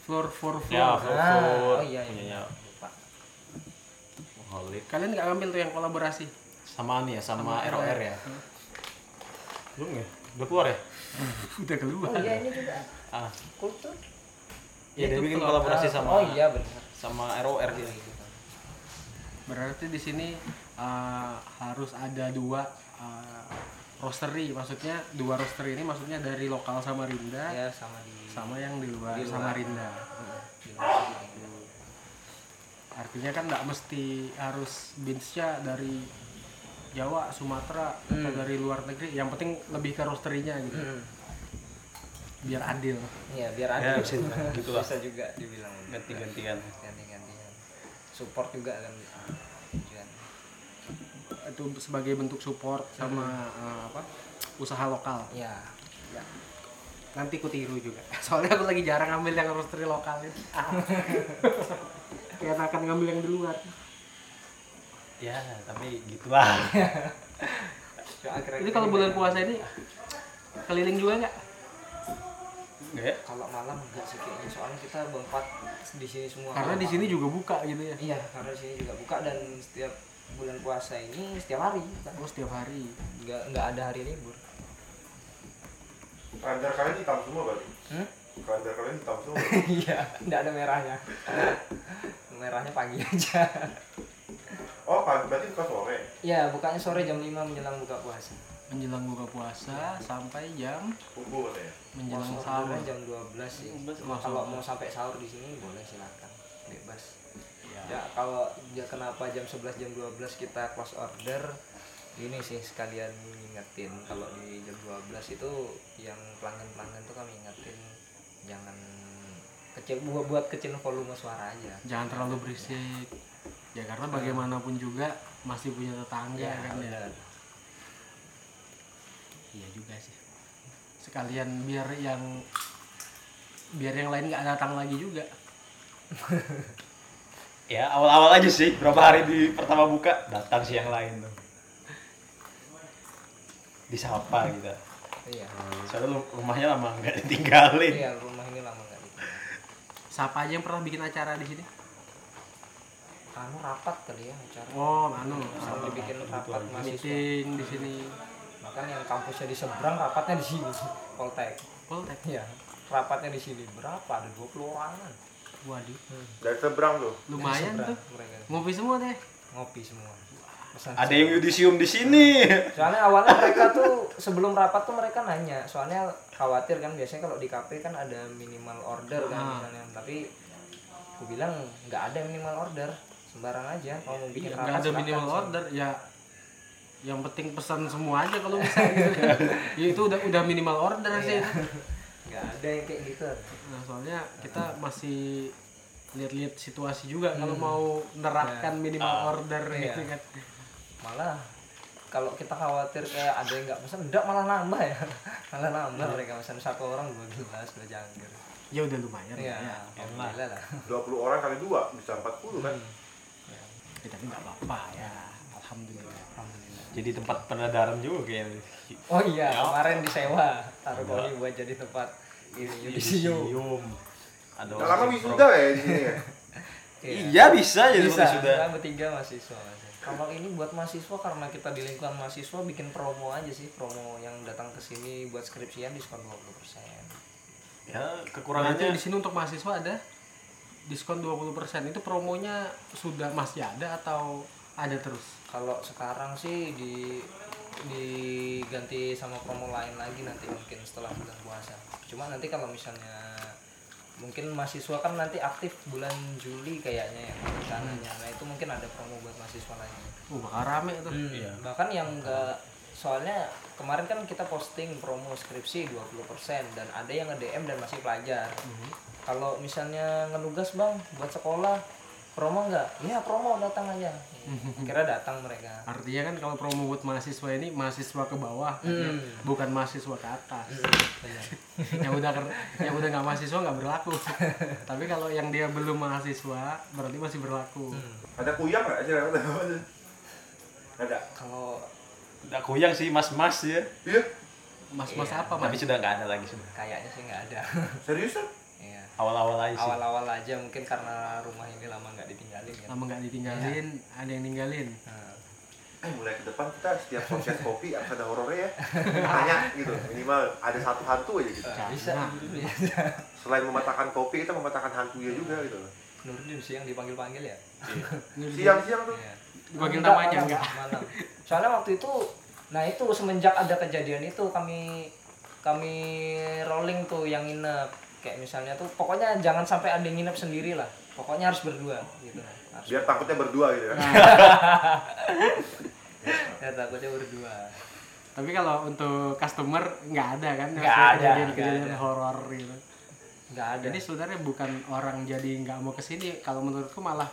A: Floor, floor,
D: ya
A: floor.
D: Fofur
B: oh iya,
D: punyanya
B: iya. Lupa.
D: Holik
A: Kalian nggak ngambil tuh yang kolaborasi?
D: sama nih ya sama, ROR ya
A: Hmm.
D: belum ya udah keluar ya
A: Udah keluar.
B: Oh iya, ini juga
D: ah
B: kultur.
D: ya dia
A: Itu
D: bikin
A: keluar.
D: kolaborasi
B: Ah,
D: sama
B: Oh iya, gitu. benar.
D: sama ROR dia
A: Berarti di sini uh, harus ada dua uh, roastery, maksudnya dua roastery ini maksudnya dari lokal Samarinda
B: Ya, sama di
A: sama yang di luar
B: Di luar. Iya.
A: Samarinda.
B: di luar gitu.
A: Artinya kan nggak mesti harus beansnya dari Jawa, Sumatera atau dari luar negeri. Yang penting lebih ke roasterinya gitu,
B: Hmm.
A: biar adil.
B: Iya, biar
D: ya
B: ada.
D: bisa gitu lah
B: Bisa juga dibilang.
D: ganti-gantian
B: ganti-gantian support juga kan tujuan
A: Itu sebagai bentuk support sama uh, apa usaha lokal.
B: ya
A: Nanti ku tiru juga. Soalnya aku lagi jarang ngambil yang roastery lokal itu. Kayak akan ngambil yang di luar.
D: ya tapi gitulah
B: Ya,
A: Ini kalau bulan puasa ini keliling juga nggak?
D: enggak ya
B: kalau malam enggak sih kayaknya soalnya kita berempat di sini semua
A: Karena di sini juga buka gitu ya.
B: iya karena di sini juga buka dan setiap bulan puasa ini setiap hari kan
A: Oh setiap hari.
B: nggak nggak ada hari libur
C: Kalender kalian hitam semua berarti.
B: Hmm?
C: Kalender kalian hitam semua.
B: iya nggak ada merahnya merahnya pagi aja
C: Oh, pagi berarti bukan sore.
B: ya bukanya sore jam 5 menjelang buka puasa
A: Menjelang buka puasa sampai jam
C: Kubu katanya.
A: menjelang
B: Puasa
A: sahur.
B: sebenarnya jam 12 sih.
D: 12,
A: langsung
B: Cuma kalau
A: sahur.
B: mau sampai sahur di sini boleh silakan. Bebas.
A: Iya.
B: Ya, kalau ya kenapa jam 11 jam 12 kita close order? Ini sih sekalian ngingetin kalau di jam 12 itu yang pelanggan-pelanggan tuh kami ingetin jangan kecil buat buat kecil volume suara aja.
A: Jangan terlalu berisik. Ya karena bagaimanapun juga masih punya tetangga kan ya.
B: benar.
A: Iya juga sih. Sekalian biar yang biar yang lain nggak datang lagi juga.
D: ya awal-awal aja sih berapa hari di pertama buka datang sih yang lain tuh disapa gitu
B: Iya.
D: soalnya lu- rumahnya lama nggak ditinggalin
B: Iya, rumah ini lama nggak ditinggal.
A: Siapa aja yang pernah bikin acara di sini?
B: Anu rapat kali ya acara.
A: Oh, anu.
B: Sampai bikin rapat mahasiswa.
A: Meeting di sini.
B: Bahkan yang kampusnya di seberang rapatnya di sini, Poltek.
A: Poltek.
B: Iya, rapatnya di sini berapa? Ada 20 orangan.
A: Waduh,
C: Dari seberang tuh.
A: lumayan
B: Seberang
A: tuh.
B: mereka
A: Ngopi semua deh.
B: ngopi semua. Pesan
D: ada
B: semua.
D: yang yudisium di sini
B: Soalnya awalnya mereka tuh sebelum rapat tuh mereka nanya. Soalnya khawatir kan biasanya kalau di kafe kan ada minimal order kan
A: Ah.
B: misalnya. Tapi aku bilang nggak ada minimal order sembarang aja kalau mau bikin
A: Iya,
B: rapat
A: nggak ada
B: silakan.
A: minimal order ya yang penting pesan semua aja kalau bisa gitu. ya itu udah udah minimal order sih
B: Iya.
A: itu.
B: nggak ada yang kayak gitu
A: Nah, soalnya kita masih lihat-lihat situasi juga kalau mau nerapkan minimal order
B: Hmm. Nah. Iya.
A: gitu kan.
B: malah kalau kita khawatir kayak ada yang nggak pesan enggak malah nambah ya malah nambah mereka pesan satu orang dua gelas dua jangkir
A: Ya udah lumayan
B: ya,
A: ya.
B: alhamdulillah lah
C: 20 orang kali 2 bisa 40 kan.
A: Ya, tapi nggak apa-apa ya. Alhamdulillah.
B: alhamdulillah
D: jadi tempat penadaran juga kayaknya
B: oh iya kemarin disewa taruh koli buat jadi tempat
D: iya,
B: ini yudisium
D: ada
C: Nggak lama
D: orang-
C: wisuda ya di sini ya.
D: iya bisa jadi
B: bisa
D: wisuda
B: kita bertiga mahasiswa Mas. kalau ini buat mahasiswa karena kita di lingkungan mahasiswa bikin promo aja sih promo yang datang ke sini buat skripsian diskon 20%
D: ya
A: Berarti
D: kekurangannya
A: di sini untuk mahasiswa ada diskon 20%. Itu promonya sudah masih ada atau ada terus?
B: kalau sekarang sih di diganti sama promo lain lagi nanti mungkin setelah bulan puasa cuma nanti kalau misalnya mungkin mahasiswa kan nanti aktif bulan Juli kayaknya ya rencananya nah itu mungkin ada promo buat mahasiswa lain
A: Uh, bakal rame tuh.
B: Hmm,
D: Iya.
B: bahkan yang enggak soalnya kemarin kan kita posting promo skripsi 20% dan ada yang nge-DM dan masih pelajar kalau misalnya ngenugas bang buat sekolah promo nggak ya promo datang aja kira datang mereka
A: Artinya kan kalau promo buat mahasiswa ini mahasiswa ke bawah, kan ya.
B: Hmm.
A: bukan mahasiswa ke atas.
B: Benar.
A: yang udah ker- yang udah nggak mahasiswa nggak berlaku. Tapi kalau yang dia belum mahasiswa berarti masih berlaku.
B: Hmm.
E: Ada kuyang nggak sih? Ada.
B: kalau
D: Udah goyang sih mas-mas ya.
E: Iya.
A: Mas-mas
B: Iya.
A: apa mas?
D: Tapi sudah nggak ada lagi sudah.
B: kayaknya sih nggak ada
E: Seriusan?
B: Iya.
D: Awal-awal aja sih.
B: awal-awal aja mungkin karena rumah ini lama nggak ditinggalin ya
A: Lama nggak ditinggalin,
B: Iya.
A: ada yang ninggalin.
B: Nah,
C: Eh mulai ke depan kita setiap podcast kopi harus ada horornya ya. Tanya gitu minimal ada satu hantu aja gitu.
B: bisa Iya.
A: Nah.
B: bisa
C: Selain mematahkan kopi kita mematahkan hantunya juga gitu.
B: Nurdin sih yang dipanggil-panggil ya
C: Siang-siang tuh
B: Iya.
A: Dipanggil
B: Enggak,
A: namanya
B: malam,
A: enggak.
B: malam. Soalnya waktu itu nah itu semenjak ada kejadian itu kami kami rolling tuh yang nginep kayak misalnya tuh pokoknya jangan sampai ada yang nginep sendiri lah pokoknya harus berdua gitu harus
C: biar takutnya berdua gitu kan.
B: ya takutnya berdua
A: Tapi kalau untuk customer nggak ada kan
B: Nggak
A: maksudnya
B: ada,
A: kejadian-kejadian
B: nggak ada.
A: horor gitu.
B: nggak ada
A: Jadi sebenarnya bukan orang jadi nggak mau kesini. Kalau menurutku malah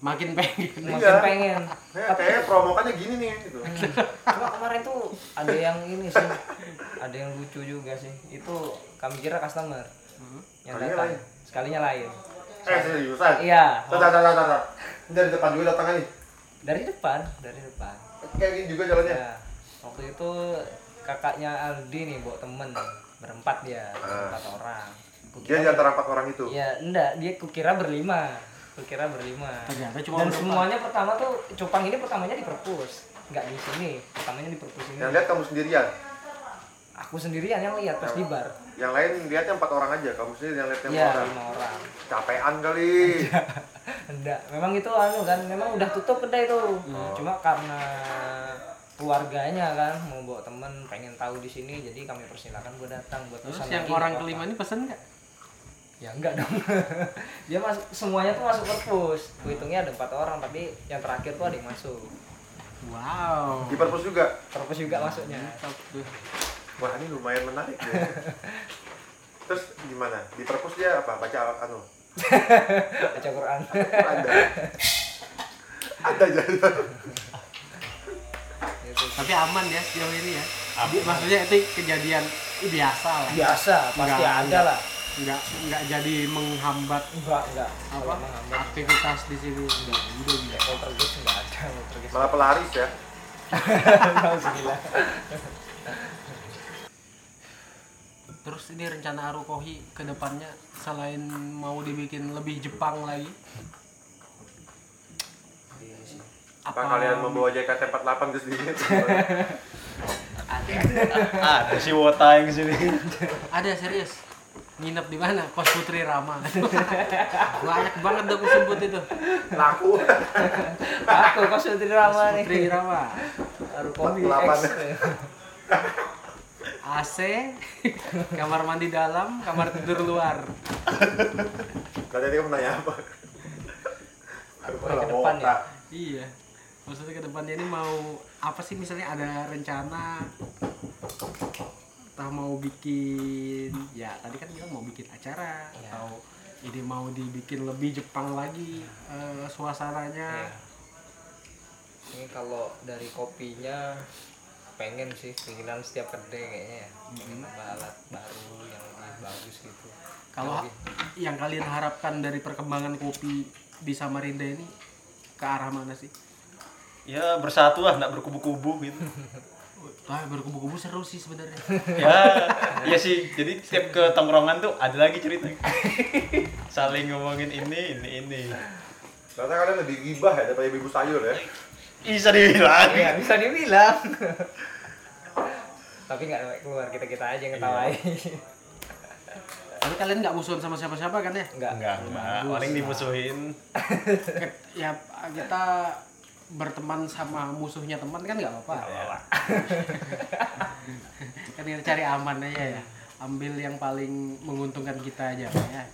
A: makin pengen.
B: makin
C: Iya.
B: pengen
C: Eh, kayaknya promokannya gini nih gitu.
B: cuma kemarin tuh ada yang ini sih ada yang lucu juga sih itu kami kira customer
A: Hmm.
B: yang
C: Sekalinya
B: datang
C: lain.
B: sekalinya lain
C: Eh seriusan.
B: iya
C: Tata tata tata. Dari depan juga datang nih.
B: dari depan dari depan
C: Kayak gini juga jalannya.
B: Ya, waktu itu kakaknya Aldi nih bawa temen berempat dia,
C: Ah.
B: berempat orang.
C: Dia di antara empat orang itu.
B: Ya enggak, dia kukira berlima, kukira berlima.
A: Ternyata cuma
B: Dan
A: berempat.
B: semuanya pertama tuh cupang ini pertamanya di perpus, nggak di sini, pertamanya di perpus ini.
C: Yang lihat kamu sendirian.
B: Aku sendirian yang lihat pas di bar.
C: Yang lain lihatnya empat orang aja. Kamu sendiri yang lihatnya empat
B: Iya,
C: orang.
B: lima orang.
C: Capean kali.
B: Enggak, memang itu anu kan, memang udah tutup kedai tuh.
A: Oh.
B: Cuma karena keluarganya kan mau bawa temen pengen tahu di sini jadi kami persilakan buat datang buat
A: Terus
B: pesan
A: yang
B: lagi,
A: orang
B: apa-apa.
A: kelima ini pesen nggak?
B: ya enggak dong dia masuk semuanya tuh masuk perpus hitungnya ada empat orang tapi yang terakhir tuh ada yang masuk
A: Wow.
C: Di perpus juga.
B: perpus juga masuknya
A: Mantap tuh.
C: Wah ini lumayan menarik deh. Terus gimana? Di perpus dia apa? Baca anu?
A: Hmm.
B: baca Quran
C: Ada. Ada jalan.
B: Gitu.
A: Tapi aman ya sejauh ini ya. Maksudnya itu kejadian biasa lah.
B: biasa pasti
A: Enggak,
B: ada
A: enggak.
B: lah
A: Nggak nggak jadi menghambat
B: enggak enggak
A: apa Ah. aktivitas di sini. Nggak, udah, nggak.
B: poltergeist enggak ada poltergeist
C: Malah pelaris ya.
B: Alhamdulillah.
A: Terus ini rencana Arukohi ke depannya selain mau dibikin lebih Jepang lagi,
B: Iya sih.
C: Apa kalian membawa JKT48 ke sini?
D: Ada si Wota yang sini.
A: Ada serius. Nginep di mana? Kos Putri Rama. Banyak banget dong sebut itu.
C: Laku.
B: aku kok sudah drama
A: Putri
B: nih
A: Rama.
B: baru kopi
C: Delapan.
B: X
A: AC, kamar mandi dalam, kamar tidur luar.
C: Kalian ini mau nanya apa?
B: Aku
C: Malah
B: ke depan ya
C: botak.
A: Iya. Maksudnya ke depannya ini mau apa sih misalnya ada rencana entah mau bikin ya tadi kan bilang mau bikin acara
B: Iya.
A: atau ini mau dibikin lebih Jepang lagi eh, suasananya.
D: Nah.
B: Iya. ini kalau dari kopinya pengen sih keinginan setiap kedai kayaknya ya
D: Mm-hmm.
B: pengen nambah alat baru yang lebih bagus gitu
A: Kalau
B: Yang lebih-
A: yang kalian harapkan dari perkembangan kopi di Samarinda ini ke arah mana sih?
D: Ya bersatu lah, nggak berkubu-kubu gitu.
A: Wah, berkubu-kubu Ah, seru sih sebenarnya.
D: ya, iya sih. Jadi setiap ke tongkrongan tuh ada lagi cerita. Saling ngomongin ini, ini, ini.
C: Ternyata kalian lebih gibah ya daripada ibu sayur ya.
D: Oh iya, Bisa dibilang.
B: ya bisa dibilang tapi nggak sampai keluar kita kita aja
D: Iya.
B: yang ketawain
A: Tapi kalian nggak musuhan sama siapa-siapa kan ya?
B: nggak
D: Enggak, enggak. Paling dimusuhin.
A: ya kita berteman sama musuhnya teman kan nggak apa-apa. kan kita cari aman aja ya. Ambil yang paling menguntungkan kita aja Pak, ya.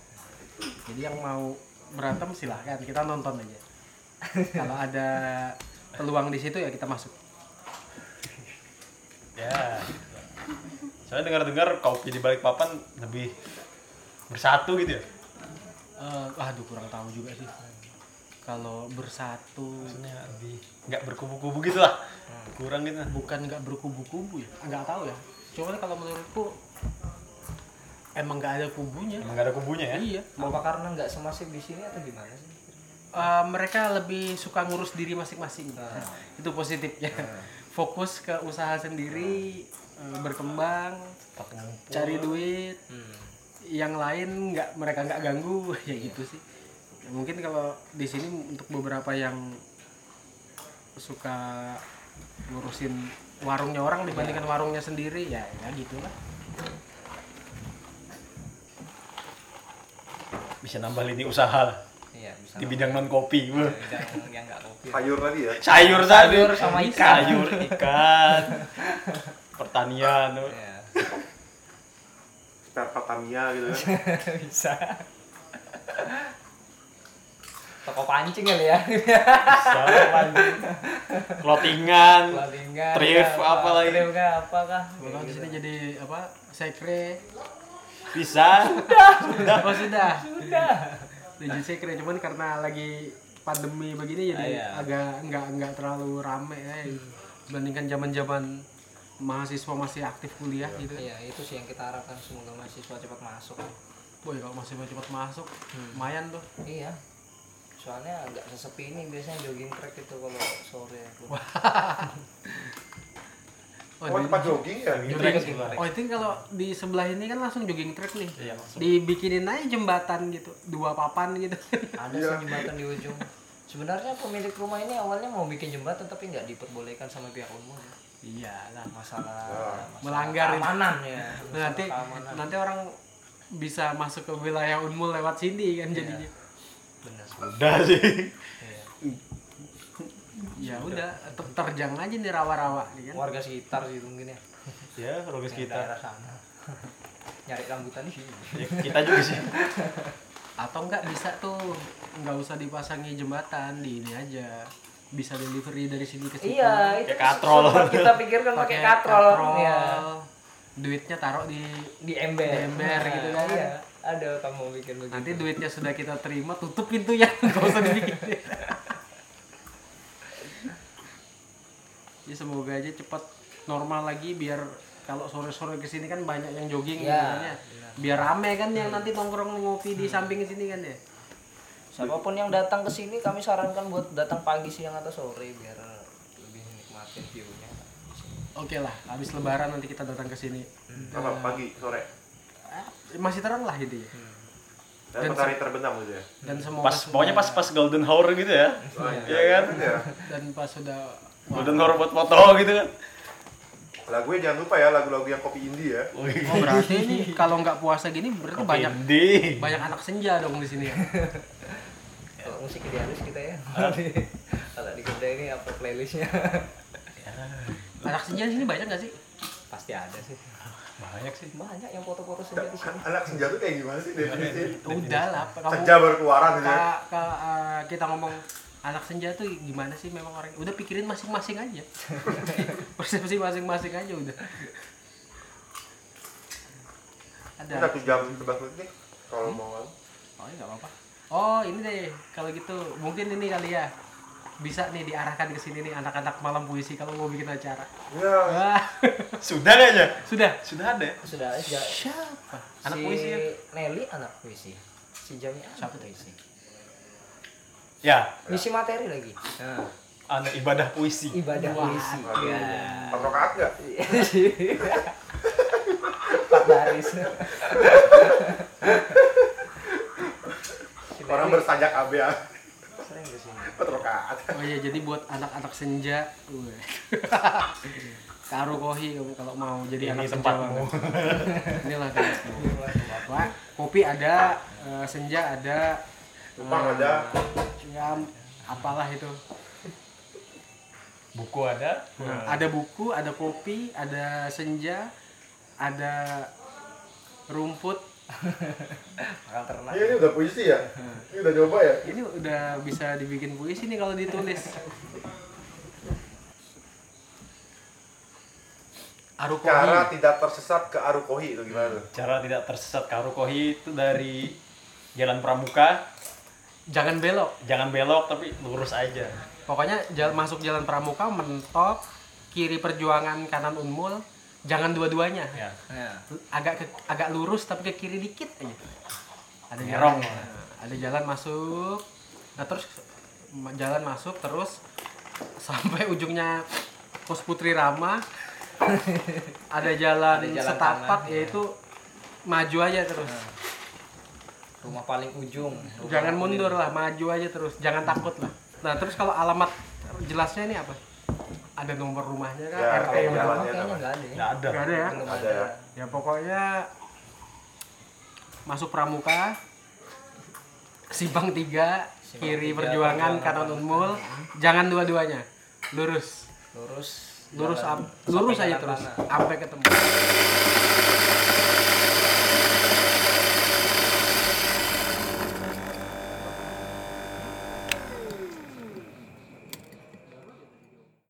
A: Jadi yang mau berantem silahkan, kita nonton aja. Kalau ada peluang di situ ya kita masuk.
D: Ya. Saya dengar-dengar kopi di balik papan lebih bersatu gitu ya.
A: Eh, aduh kurang tahu juga sih. Kalau bersatu
D: Maksudnya lebih nggak berkubu-kubu gitu lah. Kurang gitu. lah.
A: bukan nggak berkubu-kubu ya, nggak tahu ya. Cuman kalau menurutku emang nggak ada kubunya.
D: Emang nggak ada kubunya ya.
A: Iya.
B: apa karena nggak semasif di sini atau gimana sih
A: Eh, mereka lebih suka ngurus diri masing-masing.
D: Ah.
B: Nah.
A: Itu positifnya. Fokus ke usaha sendiri, eh, berkembang,
D: Tetap ngumpul.
A: cari duit.
B: hmm.
A: Yang lain nggak mereka nggak ganggu, ya gitu sih. Ya, Mungkin kalau di sini untuk beberapa yang suka ngurusin warungnya orang dibandingkan
D: Iya.
A: warungnya sendiri, ya ya gitulah.
D: Bisa nambah lini usaha lah
B: iya bisa
D: di bidang non kopi.
B: Yang- yang nggak kopi
C: sayur tadi ya
D: Sayur tadi.
B: Sayur sama ikan.
D: Sayur, ikan. Pertanian.
B: Iya.
C: spare Patamia gitu kan
B: bisa toko pancing kali ya
D: Bisa lanjut. Clothingan.
B: palingan
D: Thrift
B: ya,
D: apa lagi?
B: thrift kah apa kah
D: Iya,
A: Kalau di sini jadi apa? Sekre.
D: Bisa.
A: Oh sudah.
B: Gitu.
A: Legend Secret cuman karena lagi pandemi begini jadi
B: Ah, iya.
A: agak nggak nggak terlalu rame ya dibandingkan zaman-zaman mahasiswa masih aktif kuliah gitu.
B: iya itu sih yang kita harapkan semoga mahasiswa cepat masuk
A: Boy kalau masih cepat masuk lumayan tuh.
B: iya soalnya agak sesepi ini biasanya jogging track itu kalau sore
A: Oh,
C: cuma
A: di-
C: tempat jogging ya
D: Jogging
A: jogging
B: gitu.
D: track
A: track.
B: iya.
D: sebelah.
A: oh itu kalau di sebelah ini kan langsung jogging track nih.
D: Iya, langsung.
A: Dibikinin aja jembatan gitu, dua papan gitu.
B: ada sih jembatan di ujung sebenarnya pemilik rumah ini awalnya mau bikin jembatan tapi nggak diperbolehkan sama pihak umum ya.
A: iya lah.
B: masalah, masalah
A: Melanggar itu.
B: keamanan ya Masalah
A: Nah, nanti
B: keamanan.
A: nanti orang bisa masuk ke wilayah unmul lewat sini kan jadinya.
B: benar
D: Udah sih.
B: Iya.
A: Ya udah, ter- terjang aja nih rawa-rawa nih kan.
B: warga sekitar sih mungkin ya
D: Ya, rugi
B: Yang
D: kita.
B: daerah sana nyari rambutan di sini
D: Ya, kita juga sih.
A: atau enggak bisa tuh nggak usah dipasangi jembatan di ini aja bisa delivery dari sini ke situ
B: iya itu
D: Kayak katrol.
B: sempat kita pikirkan pakai katrol, Iya.
A: duitnya taruh di
B: di ember
A: Di ember gitu kan.
B: iya ada kamu bikin begitu
A: nanti duitnya sudah kita terima tutup pintunya nggak usah dibikin ya semoga aja cepat normal lagi biar kalau sore-sore kesini kan banyak yang jogging
B: Iya,
A: sebenarnya. biar rame kan yang nanti nongkrong ngopi di
B: Hmm.
A: samping sini kan ya
B: siapapun yang datang ke sini kami sarankan buat datang pagi siang atau sore biar lebih nikmatin view-nya
A: Oke lah, habis lebaran nanti kita datang ke sini.
C: apa pagi sore
A: Ah, Masih terang lah itu ya.
C: dan matahari terbenam gitu ya
A: Dan semoga
D: Pas
A: sudah-
D: pokoknya pas pas golden hour gitu ya. Iya kan?
C: ya
A: dan pas sudah
D: Golden hour buat foto gitu kan.
C: lagunya jangan lupa ya lagu-lagu yang kopi indie ya
A: Oh berarti ini kalau nggak puasa gini berarti banyak
D: Indie.
A: banyak anak senja dong di sini ya.
B: kalau musik idealis kita ya kalau di kedai ini apa playlistnya
A: Anak senja di sini banyak nggak sih?
B: pasti ada sih
D: Banyak sih.
B: banyak yang foto-foto
C: Nah,
B: sendiri di sini
C: anak senja tuh Iya, kayak gitu. gimana sih definisi
A: Udah lah, kamu
C: senja berkeluaran gitu ya
A: ka- ka- eh, kita ngomong anak senja tuh gimana sih memang orang udah pikirin masing-masing aja persepsi masing-masing aja udah ada
C: Ini satu jam sebelas menit nih kalau mau kan
A: Oh, ini nggak apa-apa. Oh, ini deh. Kalau gitu, mungkin ini kali ya. Bisa nih diarahkan ke sini nih anak-anak malam puisi kalau mau bikin acara.
C: ya
A: Wah,
D: Sudah kayaknya.
A: sudah.
D: Sudah ada. ya?
B: sudah aja
A: Siapa?
B: anak
D: Anak
B: si
D: puisi ya?
B: Nelly anak puisi si Jami anak puisi
D: Ya,
B: misi materi lagi nah,
D: anak ibadah puisi.
B: ibadah puisi ya
C: empat rakaat Iya. nggak
B: empat baris Si
C: orang
B: Nelly
C: bersanjak AB ya
B: sering kesini
C: empat rakaat
A: Oh iya, jadi buat anak-anak senja. weh. Taruh kohi kamu kalau mau jadi
D: Ini
A: anak
D: tempatmu.
A: senja. banget. Inilah tempatmu. Wah, kopi ada, eh, senja ada,
C: Tumpang ada.
A: ya apalah itu.
D: Buku ada.
A: Nah, ada buku, ada kopi, ada senja, ada rumput,
B: bakal ternak
C: Iya ini udah puisi ya? Ini udah nyoba ya?
A: Ini udah bisa dibikin puisi nih kalau ditulis. Arukohi.
C: Cara tidak tersesat ke Arukohi itu gimana? tuh?
D: Cara tidak tersesat Karukohi itu dari Jalan Pramuka,
A: Jangan belok.
D: jangan belok tapi lurus aja.
A: Pokoknya jal- masuk jalan Pramuka mentok kiri perjuangan kanan Unmul. Jangan dua-duanya.
D: Ya.
B: ya.
A: Agak ke- agak lurus tapi ke kiri dikit aja. Ada
B: Ya.
D: Ngerong.
A: jalan, ada jalan masuk. Nah, terus ma- jalan masuk terus sampai ujungnya Pos Putri Rama. ada jalan,
B: Ada jalan
A: setapak
B: kanan, ya. Nah,
A: yaitu maju aja terus.
B: rumah paling ujung rumah
A: Jangan
B: paling-
A: mundur lah, maju aja terus. Jangan takut lah. Nah, terus kalau alamat jelasnya ini apa? Ada nomor rumahnya kan?
C: Ya,
A: RT
C: kalau
A: yang
C: jalan.
A: berapa?
B: Rumah kayaknya nggak ada ya.
D: Nggak ada.
A: Nggak ada ya?
B: belum
C: Ada ya?
A: Ya pokoknya masuk pramuka Sibang 3,
B: Simpang
A: kiri
B: tiga,
A: perjuangan,
B: perjuangan,
A: kanan unmul. Jangan dua-duanya. Lurus.
B: lurus
A: Lurus
B: jalan
A: ab- lurus aja
B: sampai jalan
A: terus
B: tanah.
A: sampai ketemu.